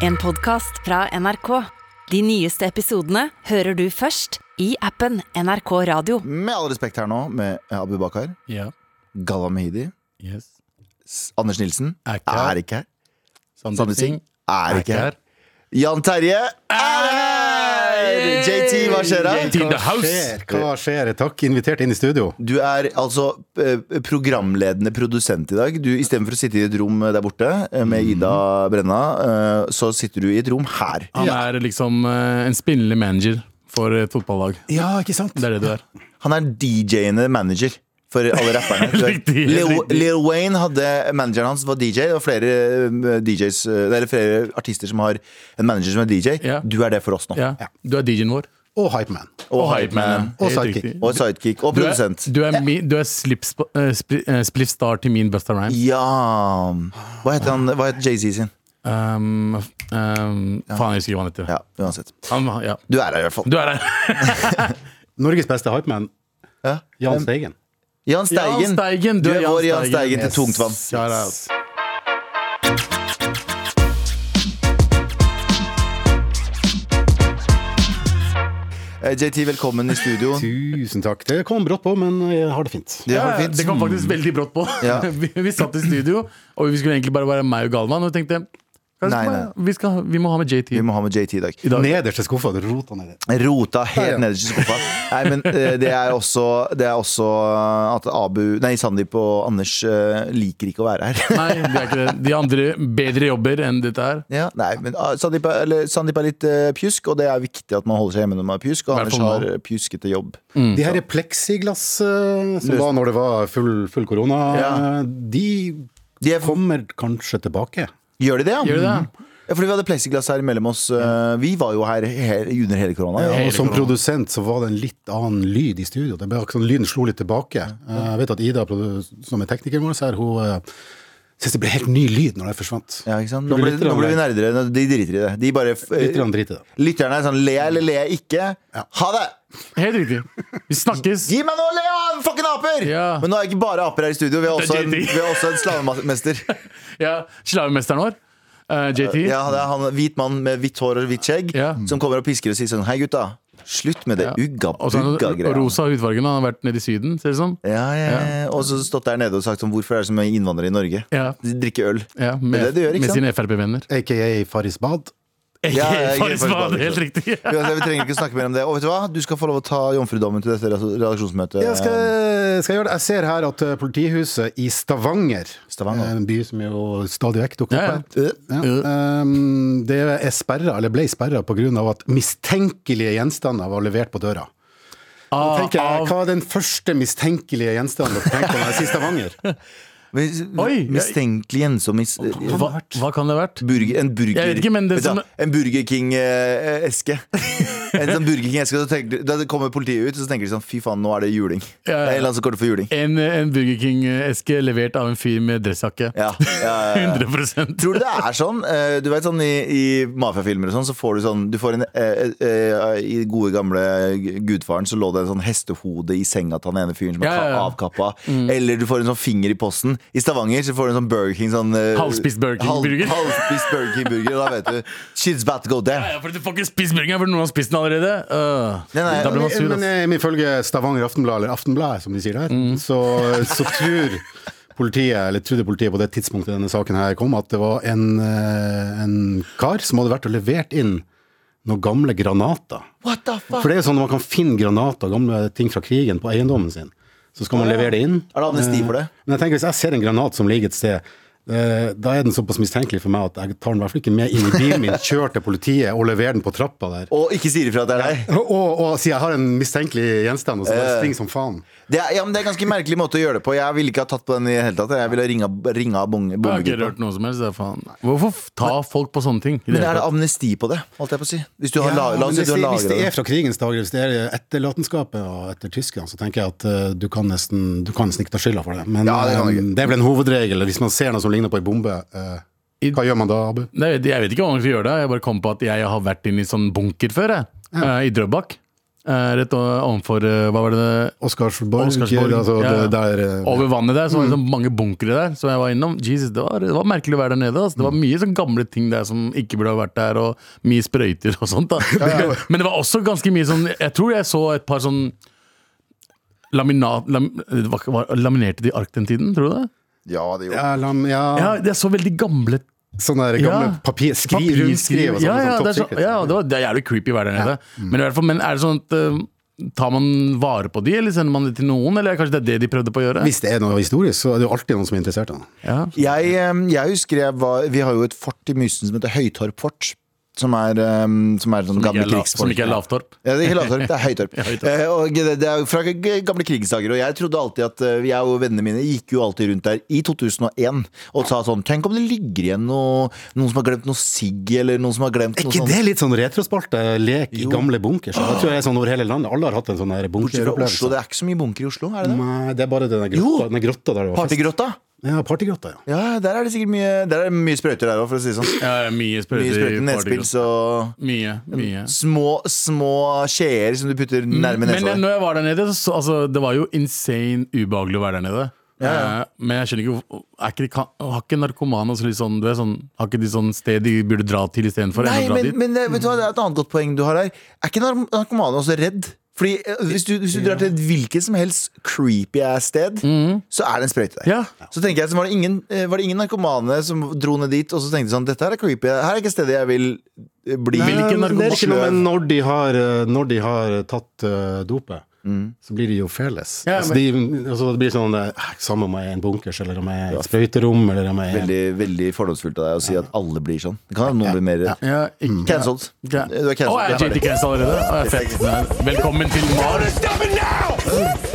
En podcast fra NRK. De nyeste episodene hører du først i appen NRK Radio. Med all respekt her nå, med Abu Bakar, Ja. Galla Mehidi, Yes. S- Anders Nilsen Er ikke her. ikke her. Sander Sander Singh er ikke her. Jan Terje er her! Yay! JT, hva skjer da? JT. In the house. Skjer? Hva skjer? Takk, invitert inn i studio. Du er altså eh, programledende produsent i dag. Du, Istedenfor å sitte i et rom der borte eh, med Mm. Ida Brenna, eh, så sitter du i et rom her. Han er liksom eh, en spillende manager for et fotballag. Ja, ikke sant? Det er det du er. Han er DJ-ende manager for alle rapperne. Du vet, Riktig, Lil, riktig. Lil Wayne hadde Manageren hans var DJ. Det var flere, eh, DJs, eh, det er flere artister som har en manager som er DJ. Ja. Du er det for oss nå. Ja. Du er DJ-en vår. Og Hypeman. Og Hypeman. Hypeman. Og Helt sidekick. riktig. Og sidekick. Og Du er, produsent. du er, mi, du er slip, uh, spliff star til min Busta Rhymes. Ja Hva heter, han- hva heter Jay-Z sin? Um, um, Faen, jeg husker ikke hva han heter. Ja, uansett. Han, ja. Du er her i hvert fall. Du er her. Norges beste Hypeman, Ja. Jan Steigen. Jan Steigen. Jan Steigen, Du er vår Jan Steigen til Yes. tungt vann. Shout out. Eh, JT, velkommen i studio. Tusen takk. Det kom brått på, men jeg har det fint. Det var Ja, fint. det kom faktisk veldig brått på. Ja. vi, vi satt i studio, og vi skulle egentlig bare være meg og Galvan. Og tenkte kanskje Nei, bare- Vi, skal, vi må ha med JT. Vi må ha med JT i dag. dag. Nederste skuffa, du rota ned det. Rota helt Ja, ja. nederst i skuffa. Nei, men eh, det er også, det er også eh, at Abu Nei, Sandeep og Anders eh, liker ikke å være her. Nei, det er ikke det. De andre bedre jobber enn dette her. Ja, nei, men ah, Sandeep er, eller, Sandeep er litt eh, pjusk, og det er viktig at man holder seg hjemme når man er pjusk. Og Hvert Anders fall har nå. eh, pjuskete jobb. De her pleksiglass eh, som var når Mm. det var full, full korona, Ja. eh, de De er, kommer kanskje tilbake. gjør de det, ja? Mhm. Gjør de det? Ja, fordi vi hadde plexiglass her mellom oss. eh, Vi var jo her he- under hele korona. Ja, Ja. Hele og som korona. produsent så var det en litt annen lyd i studio. Det ble, sånn, lyden slo litt tilbake. Eh, Jeg vet at Ida, produ- som er teknikeren vår, så her, hun eh, synes det ble helt ny lyd når det forsvant. Ja, ikke sant? Nå Det blir ble, litt nå ble vi rann- nerdere. Nå- De driter i det. De bare f- Litt rann drit i det. Lytterne er sånn Le jeg eller le jeg ikke? Ha det! Helt riktig. Vi snakkes. Gi meg noe, le av fucking aper! Ja. Men nå er ikke bare aper her i studio. Vi har Det er også en, JT. vi har også en slavemester. Ja, Slavemesteren vår, eh, JT. Ja, det er han hvit mann med hvitt hår og hvitt skjegg Ja. som kommer og pisker og sier sånn Hei, gutta. Slutt med det Ja. Og så er han- og ugga-bugga-greia. rosa hudfargen. Han har vært nede i Syden, ser det ut som. Ja, ja, ja. Og så stått der nede og sagt sånn Hvorfor er det så mange innvandrere i Norge? Ja. De drikker øl. Ja, Det er med, det de gjør, ikke med sant? sine Frp-venner. AKA Faris Bad. Ja, ja, jeg er Faktisk var det helt helt riktig. Uansett, vi trenger ikke snakke mer om det. Og vet du hva? Du skal få lov å ta jomfrudommen til dette redaksjonsmøtet. Jeg skal, Um, skal jeg gjøre det. Jeg ser her at eh, politihuset i Stavanger, eh, Stavanger. en by som jo stadig vekk dukker Ja, Uh, ja. opp her, Ja, ehm, det er sperra, eller ble sperra pga. at mistenkelige gjenstander var levert på døra. Da Ah, tenker jeg, av, Hva er den første mistenkelige gjenstanden dere tenker på når jeg sier Stavanger? Mis, Oi, jeg- mistenkelig ensom mis, hva, hva kan det ha vært? burger, En burger Jeg vet ikke, men det Vet du som- hva? En Burger King-eske. en sånn Burger King-eske så tenker, Da kommer politiet ut, og så tenker de sånn Fy faen, nå er det juling. Det Ja, ja. er en eller annen som kommer til å få juling. En, en Burger King-eske levert av en fyr med dressjakke. Ja, ja, ja, ja. 100 Tror du det er sånn? eh, Du vet sånn I, i mafiafilmer og sånn, så får du sånn du får en, eh, eh, I gode, gamle Gudfaren så lå det en sånn hestehode i senga til han ene fyren som er Ja, ja, ja. Mm. ka- avkappa. Eller du får en sånn finger i posten. I Stavanger så får du en sånn Burger King sånn eh, Halvspist Burger King-burger. Halv, halvspist Burger King-burger. Da vet du Shit's about to go down. Ja, for du får ikke spist burgeren, for noen har spist den allerede. Øh. Nei, nei, da blir man sur. Men ass. Mm. eh, ifølge Stavanger Aftenblad, eller Aftenbladet som de sier der, så, så tror politiet, eller trodde politiet på det tidspunktet denne saken her kom, at det var en, eh, en kar som hadde vært og levert inn noen gamle granater. What the fuck? For det er jo sånn at man kan finne granater, gamle ting fra krigen, på eiendommen sin. Så skal man levere det inn. Er det amnesti for det? Eh, Men jeg tenker, hvis jeg ser en granat som ligger et sted, eh, da er den såpass mistenkelig for meg at jeg tar den i hvert fall ikke med inn i bilen min, kjører til politiet og leverer den på trappa der. Og ikke sier ifra at det er deg. Og, og, og sier jeg har en mistenkelig gjenstand, og så Eh. bare springer som faen. Det er, ja, men det er en ganske merkelig måte å gjøre det på. Jeg ville ikke ha tatt på den i det hele tatt. Jeg ville ha ringa, ringa bong- Jeg har ikke bombegruppa. rørt noe som helst. det er faen. Hvorfor f- ta folk på sånne ting? i Men det er hele det tatt? amnesti på det? Holdt jeg på å si. Hvis du har, la, la men oss si hvis, du har det- hvis lagret det det. er fra krigens dager, hvis det er etterlatenskapet og etter tyskerne, så tenker jeg at eh, du kan nesten, du kan nesten ikke ta skylda for det. Men Ja, det kan du eh, ikke. det er vel en hovedregel. Hvis man ser noe som ligner på ei bombe, eh, I- hva gjør man da, Abu? Nei, jeg vet- jeg vet ikke hva man skal gjøre det. Jeg bare kom på at jeg har vært inne i sånn bunker før, jeg. Eh, I Drøbak. eh, rett ovenfor eh, Hva var det det Oscarsborg, Oscarsborg, altså ja, ja. det der eh, Over vannet der, så var det sånn mange bunkere der som jeg var innom. Jesus, det var, det var merkelig å være der nede. Altså. Det var mye sånn gamle ting der som ikke burde ha vært der, og mye sprøyter og sånt. da Men det var også ganske mye sånn Jeg tror jeg så et par sånn Laminat, lam, det var, var, laminerte de ark den tiden, tror du det? Ja, det gjorde Ja, lam, ja, Ja, det er så veldig gamle sånn der gamle Ja. papir, skri, papirskriv- rundskriv og sånn. ja, ja, sånn det er topp så, secret. ja, det, var, det er jævlig creepy å være der nede. Men, i hvert fall, men er det sånn at eh, tar man vare på de, eller sender man det til noen? Eller kanskje det er det de prøvde på å gjøre? Hvis det er noe historisk, så er det jo alltid noen som er interessert i det. Ja. Jeg, em, jeg husker jeg var Vi har jo et fort i Mysen som heter Høytorp fort. Som er, em, som er sånn gamle Ikke er la- krigsfolk. Som ikke er lavtorp. Ja, det er ikke Lavtorp, det er Høytorp. Eh, og det, det er jo fra g- gamle krigsdager. Og jeg trodde alltid at eh, jeg og vennene mine gikk jo alltid rundt der i 2001 og sa sånn Tenk om det ligger igjen noe, noen som har glemt noe sigg, eller noen som har glemt Er noe ikke sånt. det litt sånn retrospalte lek i gamle bunkers? Jeg tror jeg er sånn over hele landet. Alle har hatt en sånn der Bortsett fra Oslo, bunkeropplevelse. det er ikke så mye bunker i Oslo, er det det? Nei, det er bare den der Jo. grotta, den der grotta der det var fest. Partygrotta? Ja, partygrotta, ja. Ja, der er det sikkert mye Der er det mye sprøyter der òg, for å si det sånn. Ja, ja, mye Mye sprøyter. sprøyter, i nedspills partygrotta. og Mye, mye. små, små skjeer som du putter nærme Men jeg, nesa. når jeg var der nede, så- så altså, det var jo insane ubehagelig å være der nede. Eh, Men jeg skjønner ikke, hvorfor- er ikke de, kan- Har ikke narkomane også litt sånn, du vet, sånn Har ikke de sånn sted de burde dra til istedenfor? Nei, enn å dra men, dit? men eh, vet du hva, det er et annet godt poeng du har her. Er ikke nar- narkomane også redd? Fordi eh, Hvis du, hvis du drar til et hvilket som helst creepy ass sted, så er det en sprøyte der. Ja. Så tenker jeg, så var det, ingen, eh, var det ingen narkomane som dro ned dit og så tenkte de sånn Dette her er creepy. Her er ikke stedet jeg vil eh, bli. Vil ikke Men det er ikke noe sløv. med når de har, eh, når de har tatt eh, dopet. Mm. Så blir de jo fearless. Ja, altså, de, altså, det blir sånn eh, Samme om jeg er i en bunkers, eller om jeg er i et sprøyterom, eller om jeg er Veldig, veldig fordomsfullt av deg å si at alle blir sånn. Det kan hende noen blir mer ja, ikke, Cancelled. Du Ja. Mm. er Å, cancelled. er Det er JT ferdig. cancel allerede? Å, ja, fett. Nei. Velkommen til Mars.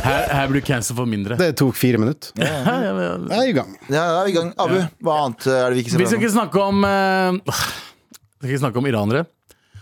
Her, her blir du cancel for mindre. Det tok fire minutter. Ja, ja, ja. Jeg er i gang. Ja, da er vi i gang. Abu, hva annet eh, er det vi ikke ser Vi skal ikke snakke om eh, Vi skal ikke snakke om iranere.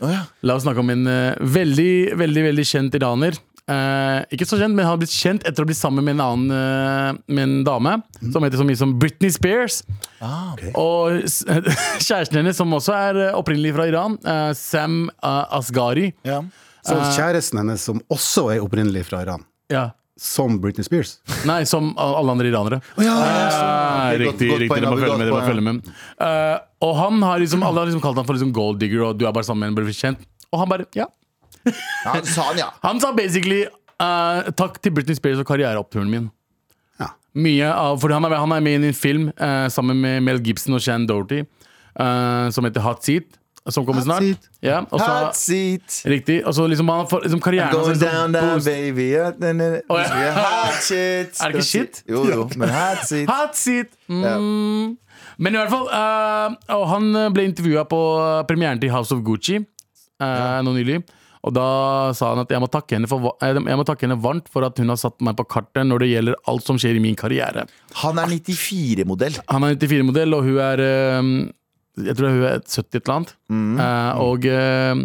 Å, ja. La oss snakke om en eh, veldig, veldig veldig kjent iraner. Eh, ikke så kjent, men han har blitt kjent etter å bli sammen med en annen eh, Med en dame som heter så mye som Britney Spears. Ah, Og s- kjæresten hennes, som også er eh, opprinnelig fra Iran, eh, Sam eh, Asghari. Ja. Så Eh. kjæresten hennes, som også er opprinnelig fra Iran, Ja. som Britney Spears Nei, som a- alle andre iranere. Ah, Ok, godt- riktig, godt riktig, poeng, dere må Abu, følge godt med. Dere må poeng, følge med. Eh, og han har liksom, alle har liksom kalt han for liksom gold digger, og du er bare sammen med en bare bli kjent. Og han bare, ja. Ja, han sa han, ja. Han sa basically eh, takk til Britney Spears og karriereoppturen min. Ja. Mye av, for han er, han er med i en film eh, sammen med Mel Gibson og Shan Doherty, eh, som heter Hot Seat, som kommer Hot snart. Seat. Ja, og så, Hot seat. Riktig, og så liksom, han får liksom karrieren hans Going liksom down, down, boost. baby. Ja, ne, ne, ne. Å, ja. Husker jeg, Hot shit. Er det ikke shit? Jo, jo, men hot shit. Hot seat! Mm. Men i hvert fall eh, Og han eh, ble intervjua på eh, premieren til House of Gucci eh, nå nylig. Og da sa han at jeg må, takke henne for, va- eh, jeg må takke henne varmt for at hun har satt meg på kartet når det gjelder alt som skjer i min karriere. Han er 94-modell. Han er 94-modell, og hun er eh, Jeg tror hun er 70 et eller annet. Eh, og, eh,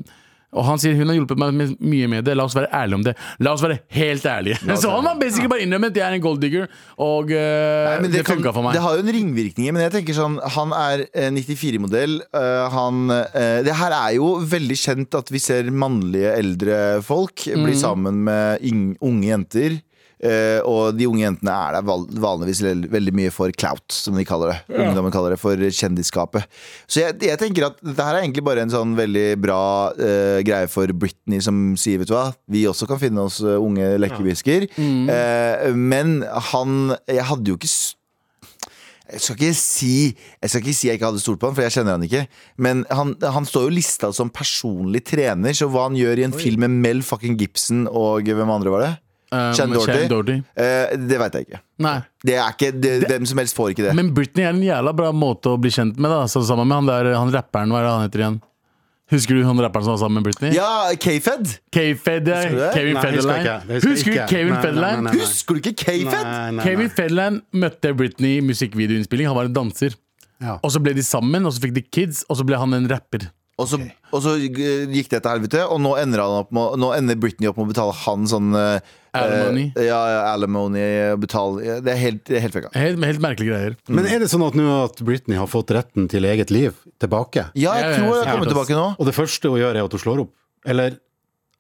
og han sier hun har hjulpet meg med, mye med det. La oss være ærlige om det. La oss være helt ærlige. Så han har basically bare innrømmet at jeg er en golddigger, og eh, Men det, funka kan- for meg. det har jo en ringvirkninger, men jeg tenker sånn Han er eh, 94-modell. eh, Han eh, Det her er jo veldig kjent at vi ser mannlige eldre folk bli sammen med yng- unge jenter. eh, og de unge jentene er der val- vanligvis vel- veldig mye for clout, som de kaller det. Ungdommen kaller det for kjendisskapet. Så jeg, jeg tenker at dette her er egentlig bare en sånn veldig bra eh, greie for Britney, som sier, vet du hva, vi også kan finne oss eh, unge lekkerbisker. Eh, men han Jeg hadde jo ikke s- jeg skal, ikke si, jeg skal ikke si jeg ikke hadde stolt på han, for jeg kjenner han ikke. Men han, han står jo lista som personlig trener, så hva han gjør i en film med Mel fucking Gibson og hvem andre var det? Eh, Shan med Doherty? Shan Doherty. Eh, det veit jeg ikke. Nei. Det er ikke det, Hvem som helst får ikke det. Men Britney er en jævla bra måte å bli kjent med. da Så Sammen med han der, han rapperen, hva er det han heter igjen? Husker du han rapperen som var sammen med Britney? ja, K-Fed! K-Fed, ja. Husker du det? Kevin Nei, husker jeg Federline. ikke. Det husker jeg Husker du ikke. Nei, Kevin nei, Federline? nei, nei. Husker du ikke K-Fed? Kevin Federline møtte Britney i musikkvideoinnspilling. Han var en danser. Ja. Og så ble de sammen, og så fikk de kids, og så ble han en rapper. Og så, og så eh, gikk det til helvete, og nå ender, han opp med, å- nå ender Britney opp med å betale han sånn eh, Alimony. eh, ja, ja, alimony eh, betale, Det er helt, det er helt fucka. Helt, helt merkelige greier. Mm. Men er det sånn at nå at Britney har fått retten til eget liv tilbake? Ja, Ja, ja, jeg tror jeg sikkert, kommer ass. tilbake nå. Og det første hun gjør, er at hun slår opp? Eller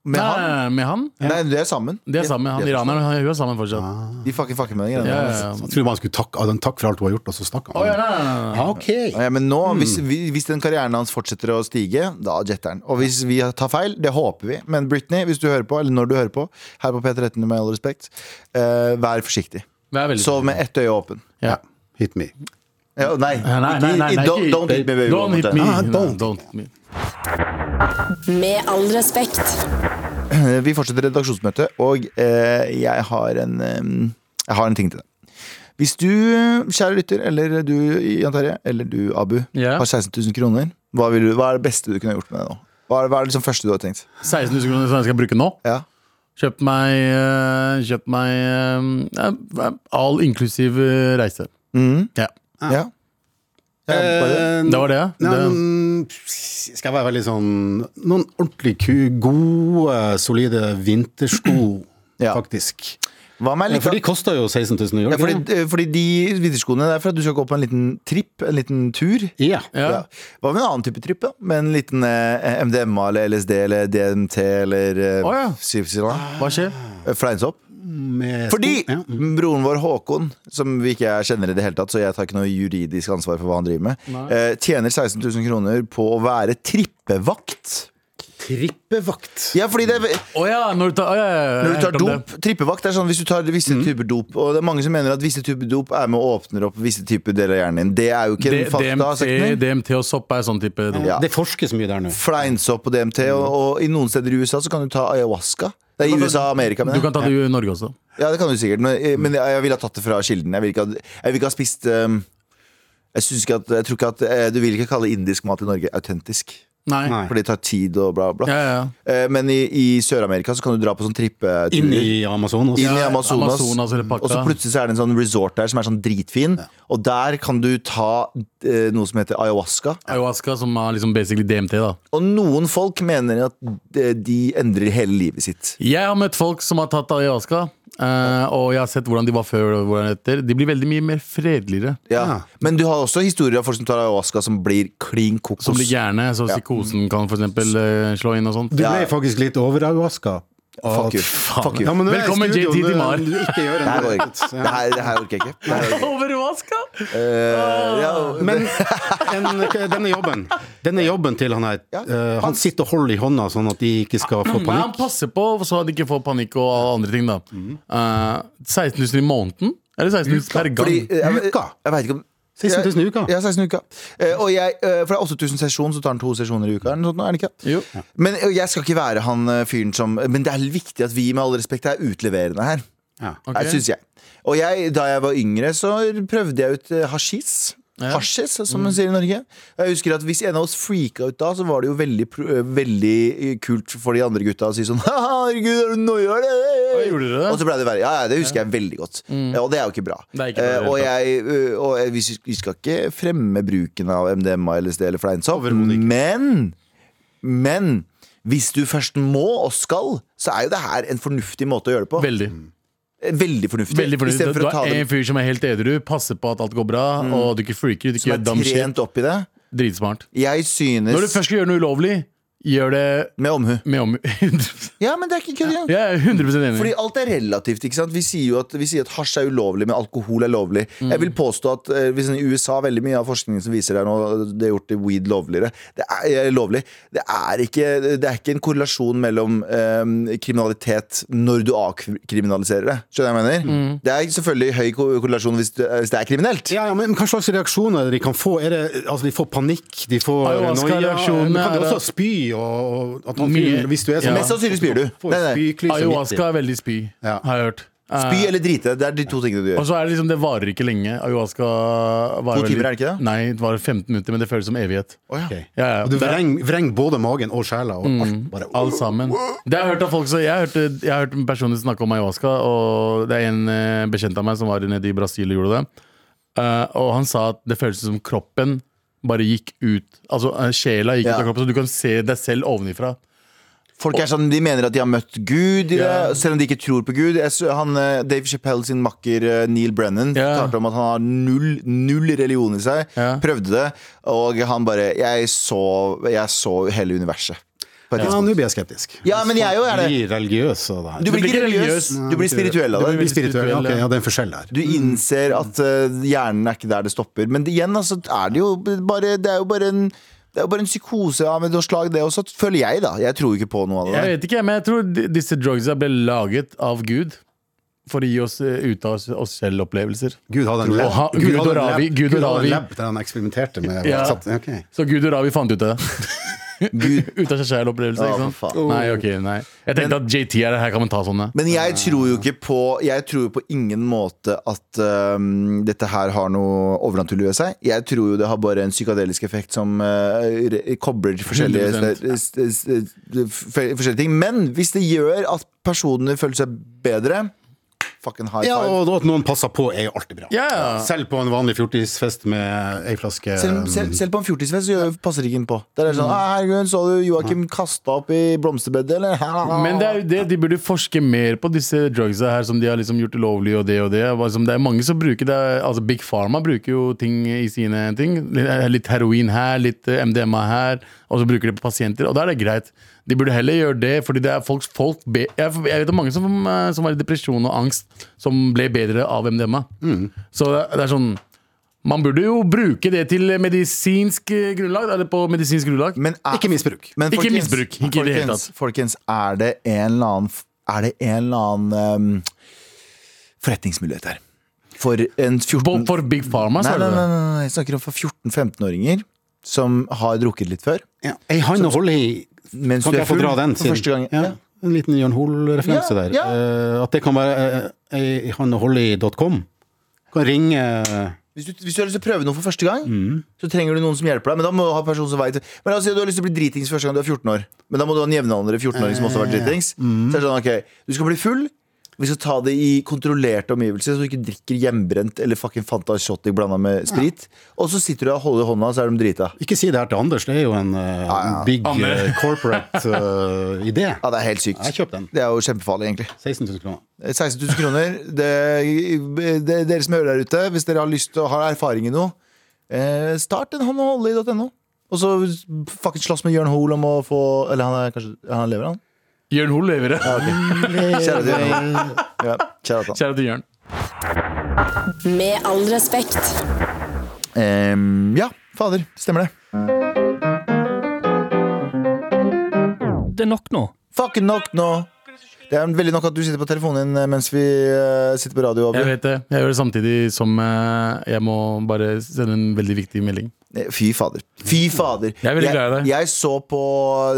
Med Nei, han? med han? Nei, de er sammen. De er sammen, han iraneren. han- Hun er sammen fortsatt. De fucker fucker med den greia. Ja, der. ja, ja. Jeg trodde man skulle takke Adam, takk for alt du har gjort, og så snakke Å, ja, nei, nei, nei. Ja, ok. Ja, men nå, Hmm. hvis, vi- hvis den karrieren hans fortsetter å stige, da jetter han. Og hvis vi tar feil, det håper vi. Men Britney, hvis du hører på, eller når du hører på, her på P13 med all respekt, eh, vær forsiktig. Det er veldig Sov med ett øye åpen. Ja. Hit me. Ja, nei, Nei, nei, nei, nei, ikke- nei, don't, ikke- don't hit me, baby. Don't hit me. Ah, don't. Nei, don't hit me. Med all respekt. Eh, Vi fortsetter redaksjonsmøtet, og eh, jeg, har en, eh, jeg har en ting til deg. Hvis du, kjære lytter, eller du, Jan Terje, eller du, Abu, Ja. har 16 000 kroner, hva, vil du, hva er det beste du kunne gjort med det nå? Hva er, hva er det liksom første du har tenkt? 16 000 kroner som jeg skal bruke nå. Ja. Kjøpt meg, eh, kjøpt meg eh, ja, all inklusiv eh, reise. Mhm. Ja. ja. ja bare. Eh, Det var det. Nei, det men, skal jeg være veldig sånn Noen ordentlig ku, gode, solide vintersko, Ja. faktisk. Hva med litt For de koster jo 16 000 ja, euro. fordi, eh, fordi de vinterskoene det er for at du skal gå på en liten tripp, en liten tur. Ja. ja. Ja. Hva med en annen type tripp? da? Med en liten eh, MDMA eller LSD eller DMT eller eh, Å, ja. Ah. sypsilon? Hva skjer? Eh, Fleinsopp? Med sko- Fordi ja. mm. broren vår Håkon, som vi ikke kjenner i det hele tatt, så jeg tar ikke noe juridisk ansvar for hva han driver med, eh, tjener 16 000 kroner på å være trippevakt. Trippevakt. Ja, fordi det er, Å ja, når du tar, å, ja, ja, ja, når du jeg tar hørte om det. Mm. dop Trippevakt er sånn hvis du tar visse typer dop, og det er mange som mener at visse typer dop er med og åpner opp visse typer deler av hjernen din. Det er jo ikke en D- fakta. DMT, sagt noe. DMT og sopp er sånn type dop. Ja. Det forskes mye der nå. Fleinsopp og DMT, og, og i noen steder i USA så kan du ta ayahuasca. Det er i USA og Amerika, Du mener jeg. kan ta det i Norge også. Ja, det kan du sikkert, men, eh, men jeg, jeg ville ha tatt det fra kilden. Jeg ville ikke, ha- jeg vil ikke ha spist um, jeg, synes ikke at, jeg tror ikke at eh, Du vil ikke kalle indisk mat i Norge autentisk. Nei. Nei. For det tar tid og bla, bla. Ja, ja, ja. Eh, Men i, i Sør-Amerika så kan du dra på sånn trippetur. Inn i Amazon også. Inn i Ja, Amazonas. Amazonas eller Pakta. og så plutselig så er det en sånn resort der som er sånn dritfin. Og der kan du ta eh, noe som heter ayahuasca. Ayahuasca, som er liksom basically DMT, da. Og noen folk mener at de- de endrer hele livet sitt. Jeg har møtt folk som har tatt ayahuasca, eh, og jeg har sett hvordan de var før og hvordan etter. De blir veldig mye mer fredeligere. Ja. Ja. Men du har også historier av folk som tar ayahuasca som blir klin kokos. Som blir gærne, så psykosen kan for eksempel eh, slå inn og sånt. Du ble Ja. faktisk litt overayahuska. Fuck you. Fuck you. Ja, men nå er jeg i Velkommen, studio, JT nå- Dimar. du ikke gjør Det en her går dritt. ikke. Det her, det her orker jeg ikke. Det her orker jeg ikke. Overvaska! Eh, ja, Men en, denne jobben Denne jobben til han her Ja. eh, Han sitter og holder i hånda sånn at de ikke skal få Nei, han panikk. passer på så han ikke får panikk og alle andre ting, da. Mm. Eh, 16 000 i måneden? Eller 16 000 per gang? fordi, eh, jeg, Uka. Jeg vet ikke om 16 000 i uka. Ja, 16 uka. Eh, og jeg, eh, for det er 8000 sesjon, så tar han to sesjoner i uka. Eller noe sånt, nå, er det ikke? Jo. Men eh, jeg skal ikke være han eh, fyren som Men det er viktig at vi med all respekt er utleverende her. Ja. Ok. Det syns jeg. Og jeg, da jeg var yngre, så prøvde jeg ut eh, hasjis. Ja. Mm. Hasjis, som man sier i Norge. Jeg husker at Hvis en av oss freaka ut da, så var det jo veldig, pro- eh, veldig kult for de andre gutta å si sånn Herregud, er du noia, eller? Å, gjorde dere det? Mm. Og så ble det verre. Ja, ja, det husker jeg veldig godt. Ja, og det er jo ikke bra. Det er ikke bra, Eh, og det er jeg, eh, og jeg, vi vi skal ikke fremme bruken av MDMA, LSD eller fleinsopp, Overhodet ikke. men Men hvis du først må og skal, så er jo det her en fornuftig måte å gjøre det på. Veldig. Veldig fornuftig. Veldig fornøyd. Istedenfor Du å ta er det en fyr som er helt edru, passer på at alt går bra, og du ikke freaker ut, ikke som gjør dum er shit. trent opp i det. Dritsmart. Jeg synes Når du først skal gjøre noe ulovlig, gjør det Med omhu. med om... Ja, men det er ikke kødd engang. Jeg er 100 enig. Fordi alt er relativt. ikke sant? Vi sier jo at, vi sier at hasj er ulovlig, men alkohol er lovlig. Mm. Jeg vil påstå at eh, hvis I USA veldig mye av forskningen som viser det her nå, det er gjort det weed lovligere. Det er, eh, lovlig. Det, er ikke, det er ikke en korrelasjon mellom eh, kriminalitet når du avkriminaliserer det. Skjønner du hva jeg mener? Mm. Det er selvfølgelig høy ko- korrelasjon hvis det, hvis det er kriminelt. Ja, ja, men Hva slags reaksjoner de kan få? Er det, altså, de får panikk, de får noia. Ayahuasca-reaksjoner Men Kan de er også spy? Og, og at han Mye. fyren, hvis du er Ja. sånn Mest sannsynlig spyr du. Får Nei, nei. spyklys i midten. Ayahuasca er veldig spy, Ja. har jeg hørt. Spy eller drite. Det er de to tingene du Og gjør. så er det liksom, det varer ikke lenge. Ayahuasca varer To timer, veldig- er det ikke det? Nei, det varer 15 minutter, men det føles som evighet. Ok. Ja, ja. Mm. Og du Det er- vreng, vreng både magen og sjela og alt. Bare, Alt sammen. Det har jeg hørt av folk, så jeg har hørt, jeg har hørt personlig snakke om ayahuasca, og det er en eh, bekjent av meg som var nede i Brasil og gjorde det. Eh, og han sa at det føltes som kroppen bare gikk ut. Altså eh, sjela gikk Ja. ut av kroppen, så du kan se deg selv ovenifra. Folk er sånn, De mener at de har møtt Gud, i det, Ja. selv om de ikke tror på Gud. Jeg, så- han, eh, Dave Chappelle sin makker eh, Neil Brennan Ja. fortalte om at han har null, null religion i seg. Ja. Prøvde det, og han bare Jeg så, jeg så hele universet. På et Ja, tidspunkt. nå blir jeg skeptisk. Ja, men jeg jo er det. Blir religiøs av det her. Du blir ikke religiøs, religiøs. du blir spirituell av Du det. blir spirituell, ja, ok, ja, det er en forskjell der. Du innser at eh, hjernen er ikke der det stopper. Men det- igjen, altså, er det jo bare Det er jo bare en det er jo bare en psykose av et slag, det også, føler jeg, da. Jeg tror ikke på noe av det. Jeg der. vet ikke, men jeg tror di- disse drugsa ble laget av Gud for å gi oss eh, ut av oss, oss selv opplevelser. Gud hadde en Tror du- lab. ha- Gud og hadde en Ravi, lab. Gud og Gud hadde Ravi. en lab der han eksperimenterte med Ja. satt- ok. Så Gud og Ravi fant ut av det. Gud. ut av seg selv-opplevelse. Ja, ikke sant? for faen. Nei, ok, nei. Jeg tenkte at JT er det her, kan man ta sånne? Men jeg tror jo ikke på Jeg tror jo på ingen måte at øhm, dette her har noe overnaturlig ved seg. Jeg tror jo det har bare en psykadelisk effekt som øh, re- kobler forskjellige, 100%. s- s- s- f- forskjellige ting. Men hvis det gjør at personene føler seg bedre Fucking high Ja, five. og at noen passer på er jo alltid bra. Ja, ja. Selv på en vanlig fjortisfest med ei flaske Selv, selv, selv på en fjortisfest så gjør- passer ikke inn på. Der er det Mm. sånn, «Ah, herregud, Så du Joakim kasta opp i blomsterbedet, eller? Men det er jo det, de burde forske mer på disse drugsa her som de har liksom gjort ulovlig og det og det. Hva som- Det er mange som bruker det. Altså Big Pharma bruker jo ting i sine ting. Litt- eh, Litt heroin her, litt eh, MDMA her. Og så bruker de på pasienter, og da er det greit. De burde heller gjøre det, fordi det er folk, folk be jeg, jeg vet om mange som, eh, som var i depresjon og angst, som ble bedre av MDMA. Mm. Så det er- det er sånn Man burde jo bruke det til medisinsk eh, grunnlag, eller på medisinsk grunnlag. Men er- Ikke misbruk. Men Ikke misbruk, ikke i det hele folkens, folkens, er det en eller annen, er det en eller annen um, forretningsmulighet her? For en 14 På- For Big Pharma, nei, sa du nei, nei, det? nei, nei, jeg snakker om for 14-15-åringer som har drukket litt før. Ja. Ei hand å holde i. Mens Kan du ikke er jeg få full dra den? for siden? første gang? Ja. Ja. En liten Jørn Hoel-referanse Ja, der. ja. Eh, at det kan være eh, ei hand å holde i.com. Kan ringe Hvis du, hvis du har lyst til å prøve noe for første gang, så trenger du noen som hjelper deg. Men da må du ha en person som vet Men la oss si at du har lyst til å bli dritings første gang du er 14 år. Men da må du ha en jevnaldrende 14-åring som også har vært dritings. Så er det sånn, ok, Du skal bli full. Vi skal ta det i kontrollerte omgivelser, så du ikke drikker hjemmebrent eller fucking Fanta Shotty blanda med sprit. Og så sitter du og holder i hånda, så er de drita. Ikke si det her til Anders, det er jo en eh, big eh, corporate eh, idé. Ja, det er helt sykt. Jeg kjøper den. Det er jo kjempefarlig, egentlig. 16 000 kroner. 16 000 kroner. Det, det, dere som hører der ute, hvis dere har lyst til å ha erfaring i noe, eh, start en håndholde.no. Og så fucking slåss med Jørn Hoel om å få Eller han er kanskje Han lever, han? Jørn Hoel lever det. Kjære til Jørn Hoel. Ja, kjære til han. Kjære til Jørn. Med all respekt. Em, ja, fader. Stemmer det. Det er nok nå. Fucking nok nå. Det er veldig nok at du sitter på telefonen din mens vi eh, sitter på radio. Jeg Abu. vet det. Jeg gjør det samtidig som eh, jeg må bare sende en veldig viktig melding. Eh, Fy fader. Fy fader. Jeg er veldig glad i deg. jeg så på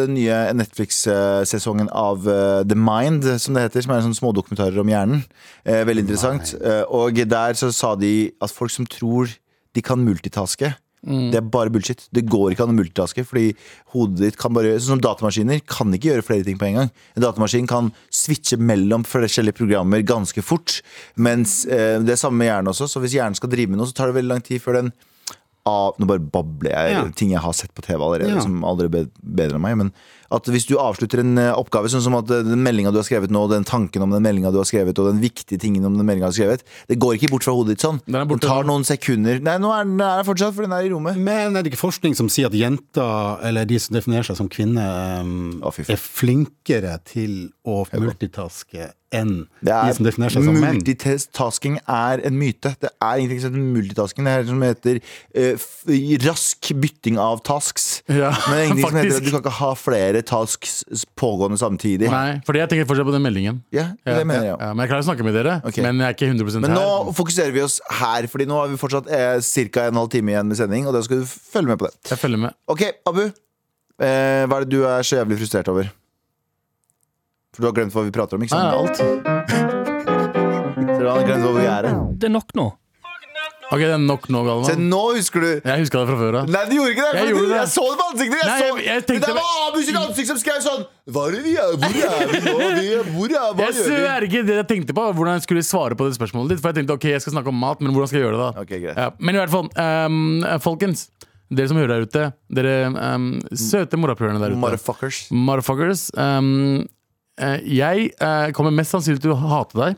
den nye Netflix-sesongen av eh, The Mind, som det heter. Som er sånne smådokumentarer om hjernen. Eh, veldig interessant. Eh, og der så sa de at folk som tror de kan multitaske Det er bare bullshit. Det går ikke an å multitaske. Fordi hodet ditt kan bare Sånn som datamaskiner kan ikke gjøre flere ting på en gang. En datamaskin kan switche mellom forskjellige programmer ganske fort. Mens eh, det er samme med hjernen også. Så hvis hjernen skal drive med noe, så tar det veldig lang tid før den av Nå bare babler jeg Ja. ting jeg har sett på TV allerede, Ja. som aldri er bed- bedre enn meg. Men at hvis du avslutter en eh, oppgave, sånn som at eh, den meldinga du har skrevet nå, den tanken om den meldinga du har skrevet, og den viktige tingen om den meldinga du har skrevet, det går ikke bort fra hodet ditt sånn. Den er Den, borte tar nå. noen sekunder Nei, nå er den er den fortsatt, for den er i rommet. Men er det ikke forskning som sier at jenter, eller de som definerer seg som kvinner, um, Å, fy faen. er flinkere til å multitaske enn Det de som definerer seg er, sånn som menn? multitasking er en myte. Det er ingenting som heter multitasking. Det er det som heter eh, f rask bytting av tasks. Ja, Men det er ingenting som heter faktisk. at du kan ikke ha flere tasks pågående samtidig. Nei, fordi jeg tenker fortsatt på den meldingen. Ja, det mener jeg ja. òg. men jeg klarer å snakke med dere, Ok. men jeg er ikke 100 Men her. nå fokuserer vi oss her, Fordi nå har vi fortsatt eh, ca. en halv time igjen med sending. Og da skal du følge med på det. Jeg følger med. Ok, Abu. Eh, hva er det du er så jævlig frustrert over? For du har glemt hva vi prater om, ikke Nei, sant? alt. Så du har glemt hvor vi er hen. Det er nok nå. Ok, det er nok nå, Se, Galvan. nå husker du! Jeg huska det fra før av. Nei, du gjorde ikke det! Jeg for gjorde du, det. jeg så det på ansiktet ditt! Jeg Nei, så, jeg- jeg det tenkte- der var Abu sitt ansikt som skrev sånn Hva er det vi er? Hvor er vi nå? Vi er, hvor er, hva Jeg gjør vi? sverger ikke det jeg tenkte på, var hvordan jeg skulle svare på det spørsmålet ditt. For jeg tenkte ok, jeg skal snakke om mat, men hvordan skal jeg gjøre det da? Ok, greit. Ja, men i hvert fall, ehm, folkens. Dere som hører der ute. Dere ehm, søte morapulerne der ute. Motherfuckers. Motherfuckers. Um, eh, jeg eh, kommer mest sannsynlig til å hate deg.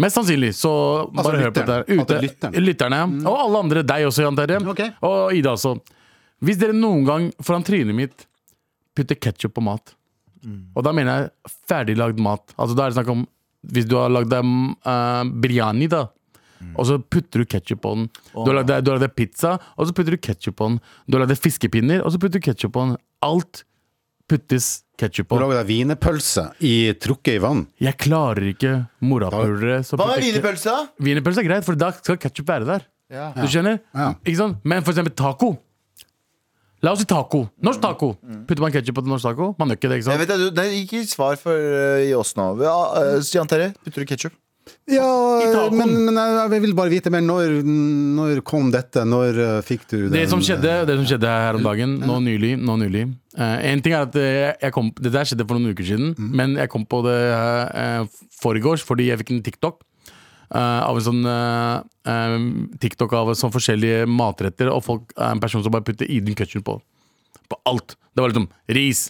Mest sannsynlig, så bare hør på dette. Altså lytteren. her. Ute, Hate lytteren. Mm. lytterne. Og alle andre. Deg også, Jan Terje. Ok. Og Ida også. Hvis dere noen gang foran trynet mitt putte ketsjup på mat. Og da mener jeg ferdiglagd mat. Altså da er det snakk om Hvis du har lagd deg mm, eh, biryani, da. Mm. Og så putter du ketsjup på den. Du har lagd deg- du har lagd deg pizza, og så putter du ketsjup på den. Du har lagd deg fiskepinner, og så putter du ketsjup på den. Alt puttes ketsjup Du på. lager deg wienerpølse i- trukket i vann. Jeg klarer ikke morapulere. så Hva med putter jeg- wienerpølse, da? Wienerpølse er greit, for da skal ketsjup være der. Du skjønner? Ja. Ikke sant? Men for eksempel taco. La oss si taco. Norsk taco. Mm. Putter man ketsjup på norsk taco? Man gjør ikke det, ikke Jeg sant? vet, det, det er ikke svar for uh, i oss nå. Ja, eh, Stian Terje, putter du ketsjup? Ja, eh, tacoen. men, men jeg, jeg vil bare vite mer. Når, når kom dette? Når eh, fikk du den? eh, Det som, skjedde, det som skjedde her om dagen, nå nylig, nå nylig eh, En ting er at eh, jeg kom, Det der skjedde for noen uker siden, Mhm. men jeg kom på det uh, foregårs fordi jeg fikk en TikTok. eh, av en sånn eh, eh, TikTok av sånn forskjellige matretter, og folk, eh, en person som bare putter Eden Kutcher på. på alt. Det var liksom ris,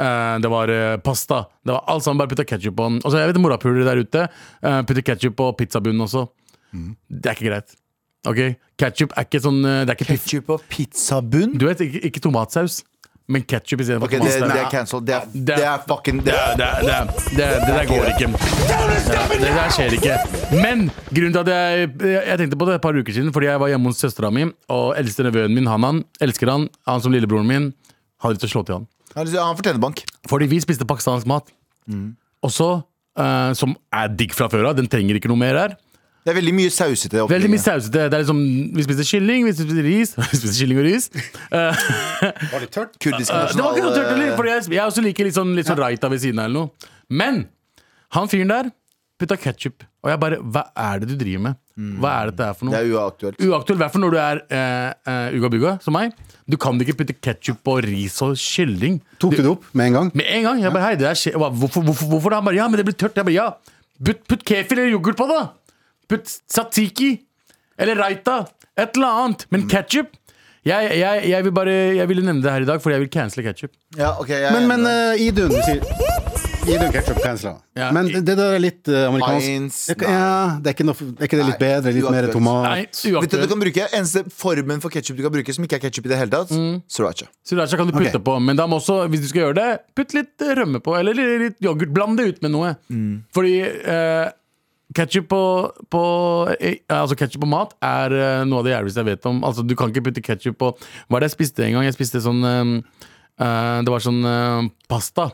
eh, det var eh, pasta, det var alt sammen. Bare putta ketsjup på den. Og så jeg vet morapulere der ute uh, putter ketsjup på pizzabunnen også. Mhm. Det er ikke greit. Ok, Ketsjup er ikke sånn eh, Det er ikke piff. Ketsjup og pizzabunn? Du vet, ikke, ikke tomatsaus, men ketsjup istedenfor Ok, det, tomatsaus. det er cancelled. Det er, Det- det er fucking det er, Det, er- det, er- det, er- det der går ikke. Det, det der skjer ikke. Men grunnen til at jeg, jeg tenkte på det et par uker siden, fordi jeg var hjemme hos søstera mi, og eldste nevøen min, han han, elsker han, han som lillebroren min, hadde lyst til å slå til han. Han han fortjener bank. Fordi vi spiste pakistansk mat. Mm. Og så, eh, som er digg fra før av, den trenger ikke noe mer her. Det er veldig mye sausete. opplegg. Veldig mye sausete. Det er liksom, vi spiste kylling, vi spiste ris. Vi spiste kylling og ris. Var det tørt? Kurdisk Eh, det var ikke noe tørt nasjonal, heller, eh, for jeg, jeg også liker litt sånn, litt sånn raita ved siden av eller noe. Men han fyren der putta ketsjup. Og jeg bare Hva er det du driver med? Hva er dette her for Det noe? er uaktuelt. Uaktuelt, i hvert fall når du er eh, eh, ugabuga, som meg. Du kan ikke putte ketsjup på ris og kylling. Tok du det opp med en gang? Med en gang. Jeg bare, hei, det der skjer. Jeg bare, Hvorfor, hvorfor, hvorfor det? Han bare, ja, men det blir tørt. Jeg bare, ja. Putt, putt kefir eller yoghurt på det. da. Putt satiki. Eller raita. Et eller annet. Men ketsjup? Jeg, jeg, jeg, vil bare, jeg ville nevne det her i dag, fordi jeg vil cancele ketsjup. Ja, ok, jeg, Men, men eh, Idun sier Idun ketchup cancela. Ja. Men det det der er litt eh, amerikansk. Heinz, Det- ja, det er, ikke noe, er ikke det Nei, litt bedre? Litt mer uaktuelt. Nei, tomat? Vet du hva du uaktuelt. kan bruke? Eneste formen for ketsjup du kan bruke som ikke er ketsjup i det hele tatt, Mm. sriracha. Sriracha kan du putte Ok. på, men da må også, hvis du skal gjøre det, putt litt rømme på, eller litt litt yoghurt. Bland det ut med noe. Fordi eh, ketsjup på, på, eh, altså ketchup på mat er eh, noe av det jævligste jeg vet om. Altså, du kan ikke putte ketsjup på Hva er det jeg spiste en gang? Jeg spiste sånn eh, eh, Det var sånn eh, pasta.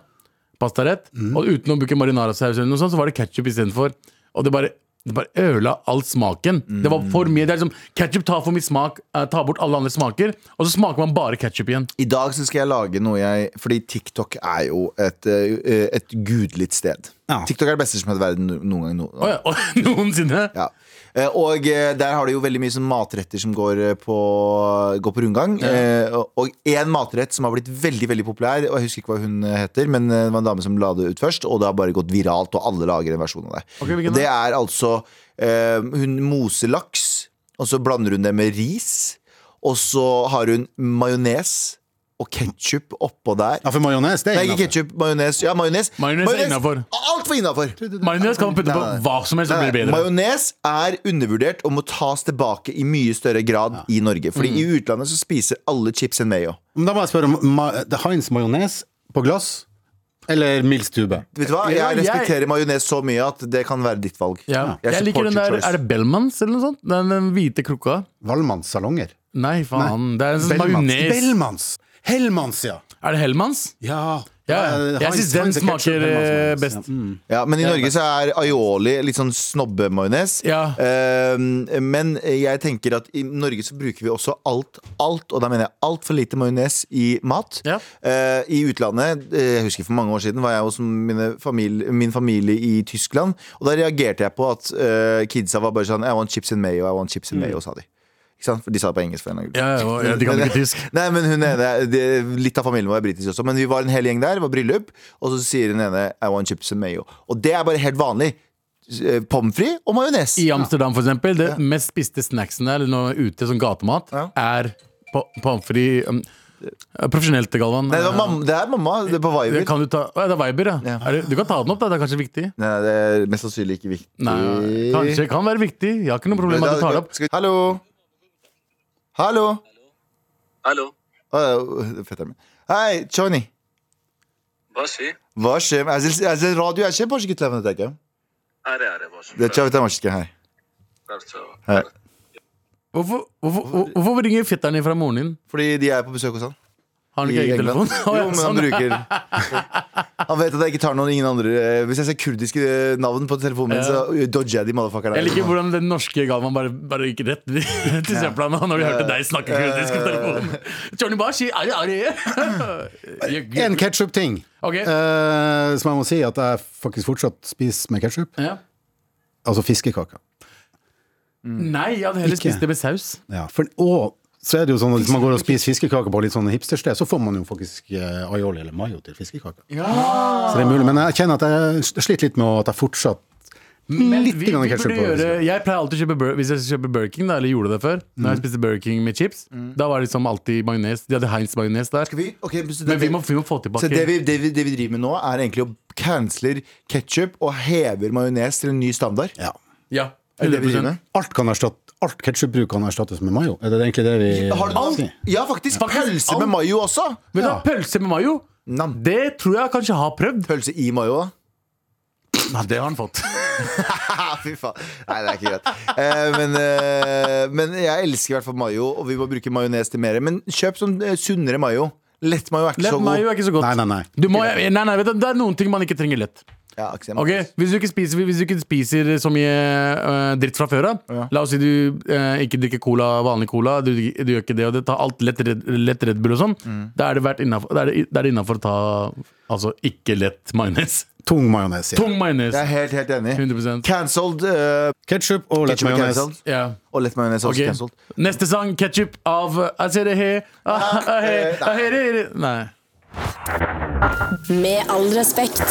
Pastarett. Og uten å bruke marinarasaus eller noe sånt, så var det ketsjup istedenfor. Og det bare det bare ødela all smaken. Det var for mye, det er liksom, Ketsjup tar for mye smak, eh, tar bort alle andre smaker, og så smaker man bare ketsjup igjen. I dag så skal jeg lage noe jeg Fordi TikTok er jo et, eh, et gudelig sted. Ja. TikTok er det beste som heter verden no- noen gang. No, Å ja, og noensinne? Ja. Eh, Og eh, der har de jo veldig mye sånn matretter som går eh, på, går på rundgang. Eh, og- Og én matrett som har blitt veldig veldig populær, og jeg husker ikke hva hun eh, heter, men eh, det var en dame som la det ut først, og det har bare gått viralt, og alle lager en versjon av det. Ok, hvilken og da? det er altså eh, Hun moser laks, og så blander hun det med ris, og så har hun majones og ketsjup oppå der. Ja, for majones, det Nei, er ikke innafor. ketsjup, majones. Ja, majones. Majones er innenfor. Altfor innafor! Majones kan man putte på Nei, nei. hva som helst og Nei, bli bedre. Majones er undervurdert og må tas tilbake i mye større grad i Norge. Mm. Fordi i utlandet så spiser alle chips en mayo. Men da må jeg spørre om ma det er Heinz majones på glass eller Mills tube? Vet du hva? Ja, Jeg jeg- respekterer majones så mye at det kan være ditt valg. Ja. Jeg Jeg, liker support den your der, choice. er det Bellmans eller noe sånt? Den, den hvite krukka? Valmanns salonger? Nei, faen. Det er en sånn Bellmans. majones. Bellmans. Hellmans, ja. Er det Hellmans? Ja, Ja, jeg Eh, Heinz- synes den Heinz ketchup, smaker, Hellmann's eh, majones. best. Ja. Mm. Ja, men i Norge så er aioli litt sånn snobbemajones. Ja. Eh, men jeg tenker at i Norge så bruker vi også alt, alt, og da mener jeg altfor lite majones i mat. Ja. Eh, I utlandet, eh, jeg husker for mange år siden, var jeg hos mine famil- min familie i Tyskland, og da reagerte jeg på at eh, kidsa var bare sånn I want chips and mayo, I want chips and mayo, sa de. Ikke sant? For de sa det på engelsk. for en eller annen grunn. Mm. Ja, ja, ja, de kan Men- ikke tysk. Nei, men hun ene, det, Litt av familien var britisk også, men vi var en hel gjeng der. Det var bryllup, og så sier hun ene I want chips and mayo. Og det er bare helt vanlig. Eh, Pommes frites og majones. I Amsterdam, for eksempel. Det mest spiste snacksen der, eller noe ute som gatemat, Ja. er po- pommes frites um, Profesjonelt, Galvan. Nei, det, var mamma, det er mamma det er på Viber. Det kan du ta Å, ja, det er Viber, ja. Ja. Er det, du kan ta den opp, da. Det er kanskje viktig. Nei, det er mest sannsynlig ikke viktig. Nei, kanskje kan være viktig. Jeg har ikke noe problem med at du tar det opp. Skal vi- Hallo? Hallo? Hallo. Å, det er fetteren min. Hei, Johnny. Hva skjer? Hva skjer med jeg ser, jeg ser radio, jeg ser på ikke telefonen, tenker jeg. Her er det, hva skjer? Det er ikke jeg her. Hei. Hvorfor, hvorfor, hvor- hvorfor ringer fetteren din fra moren din? Fordi de er på besøk hos han. Har han ikke i egen England. telefon? Å, ja, Jo, men han sånn, ja. bruker Han vet at jeg ikke tar noen ingen andre eh, Hvis jeg ser kurdiske eh, navn på telefonen min, Ja. så eh, dodger jeg de motherfuckerne. Jeg liker hvordan den norske Galvan bare, bare gikk rett til søpla nå når de hørte deg snakke Eh, kurdisk på telefonen. Johnny Bashi, ari, En ari. ketsjup-ting Ok. eh, som jeg må si at jeg faktisk fortsatt spiser med ketsjup. Ja. Altså fiskekaker. Nei, jeg hadde heller Ikke. spist det med saus. Ja, for, og så er det jo sånn at hvis man går og spiser fiskekaker på litt sånn hipstersted, så får man jo faktisk eh, aioli eller mayo til fiskekaker. Så det er mulig. Men jeg kjenner at jeg sliter litt med at jeg fortsatt Men Litt vi, vi grann burde ketchup på, gjøre, jeg pleier alltid å kjøpe bur- Hvis jeg kjøper Burger King, da, eller gjorde det før Når jeg Mm. spiste Burger King med chips, da var det liksom alltid majones. De hadde Heinz-majones der. Skal vi, ok, så det, Men vi må, vi må få så tilbake det, vi, det, vi, det vi driver med nå, er egentlig å canceler ketsjup og hever majones til en ny standard. Ja. Ja, Er det det vi driver 100% med? Alt, kan erstatte- alt ketsjupbruk kan erstattes med mayo. Er det egentlig det vi Har du alt? Ja, faktisk. Faktisk Pølse alt. med mayo også. Vet du hva, pølse med mayo? Nam. Det tror jeg kanskje jeg har prøvd. Pølse i mayo, da. Nei, det har han fått. Ah, fy faen. Nei, det er ikke greit. Eh, men, eh, men jeg elsker i hvert fall mayo, og vi må bruke majones til mer. Men kjøp sånn eh, sunnere mayo. Lett mayo er ikke Lett så god. mayo er ikke så godt. Nei, nei, nei. Du må, nei, nei, vet du, det er noen ting man ikke trenger lett. Ja, ikke sant. Ok, Hvis du ikke spiser, hvis du ikke spiser så mye øh, dritt fra før av La oss si du øh, ikke drikker cola, vanlig cola, du, du gjør ikke det, og det tar alt lett, Red- lett Red Bull og sånn, da er det vært innafor, da er det, da er det innenfor å ta altså ikke lett majones. Tung majones. Ja. Tung majones! Jeg er helt, helt enig. 100 Cancelled. eh, Ketsjup og lett ketchup er majones. cancelled. Ja. Og lett majones er også Ok. cancelled. Neste sang, 'Ketchup' av eh, Azereheh. ah, eh, Nei. Med all respekt.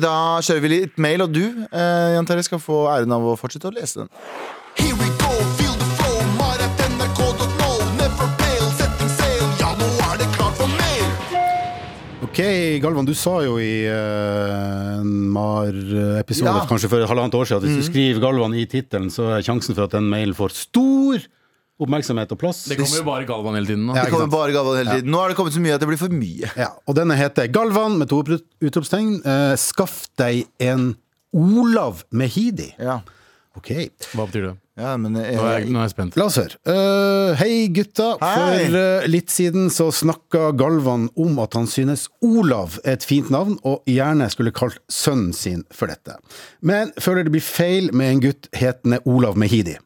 Da kjører vi litt mail, og du eh, Jan Terje, skal få æren av å fortsette å lese den. Here we go, feel the flow, maratnrk.no. Never fail, setting sail. Ja, nå er det klart for mer. Ok, Galvan, du sa jo i eh, en MAR-episode Ja. kanskje for halvannet år siden at hvis du skriver Galvan i tittelen, så er sjansen for at den mailen får stor oppmerksomhet og plass. Det kommer jo bare Galvan hele tiden nå. Ja, Det ikke kommer sant. bare gaver hele tiden. Nå har det kommet så mye at det blir for mye. Ja, og denne heter Galvan med to oppru- utropstegn. Eh, skaff deg en Olav Mehidi. Ja, Ok. Hva betyr det? ja men eh, Nå er jeg, nå er jeg spent. La oss høre. Eh, hei, gutta. Hei. For eh, litt siden så snakka Galvan om at han synes Olav er et fint navn, og gjerne skulle kalt sønnen sin for dette. Men føler det blir feil med en gutt hetende Olav Mehidi.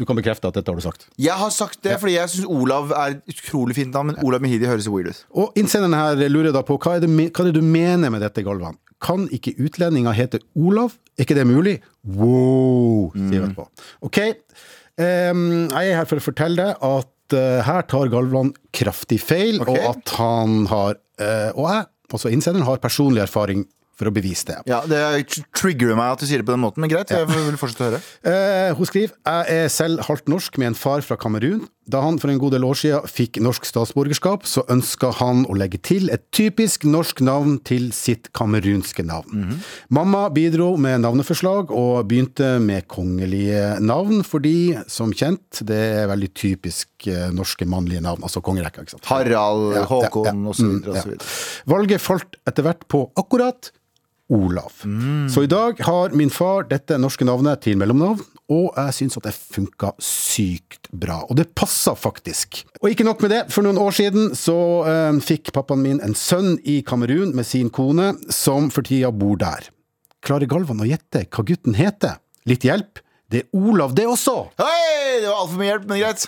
Du kan bekrefte at dette har du sagt. jeg har sagt det fordi jeg syns Olav er et utrolig fint navn, men Olav Mehidi høres weird ut. Og innsenderen her lurer da på hva er det, me- hva er det du mener med dette, Galvan? Kan ikke utlendinger hete Olav? Er ikke det mulig? Wow, sier han på. Ok, em, jeg er her for å fortelle deg at eh, her tar Galvan kraftig feil, Ok. og at han har, eh, og jeg, også innsenderen, har personlig erfaring for å bevise det. Ja, Det tr- triggerer meg at du sier det på den måten, men greit. Jeg vil fortsette å høre. Eh, hun skriver Jeg er selv halvt norsk med en far fra Kamerun. Da han for en god del år siden fikk norsk statsborgerskap, så ønska han å legge til et typisk norsk navn til sitt kamerunske navn. Mamma bidro med navneforslag og begynte med kongelige navn, fordi, som kjent, det er veldig typisk eh, norske mannlige navn, altså kongerekka, ikke sant. Harald, Ja, ja, Håkon ja. og så Mm, videre og så ja. videre. Valget falt etter hvert på akkurat Olav. Så i dag har min far dette norske navnet til mellomnavn, og jeg syns at det funka sykt bra. Og det passa faktisk. Og ikke nok med det, for noen år siden så eh, fikk pappaen min en sønn i Kamerun med sin kone, som for tida bor der. Klarer Galvan å gjette hva gutten heter? Litt hjelp? Det er Olav, det også! Hei, det var altfor mye hjelp, men greit.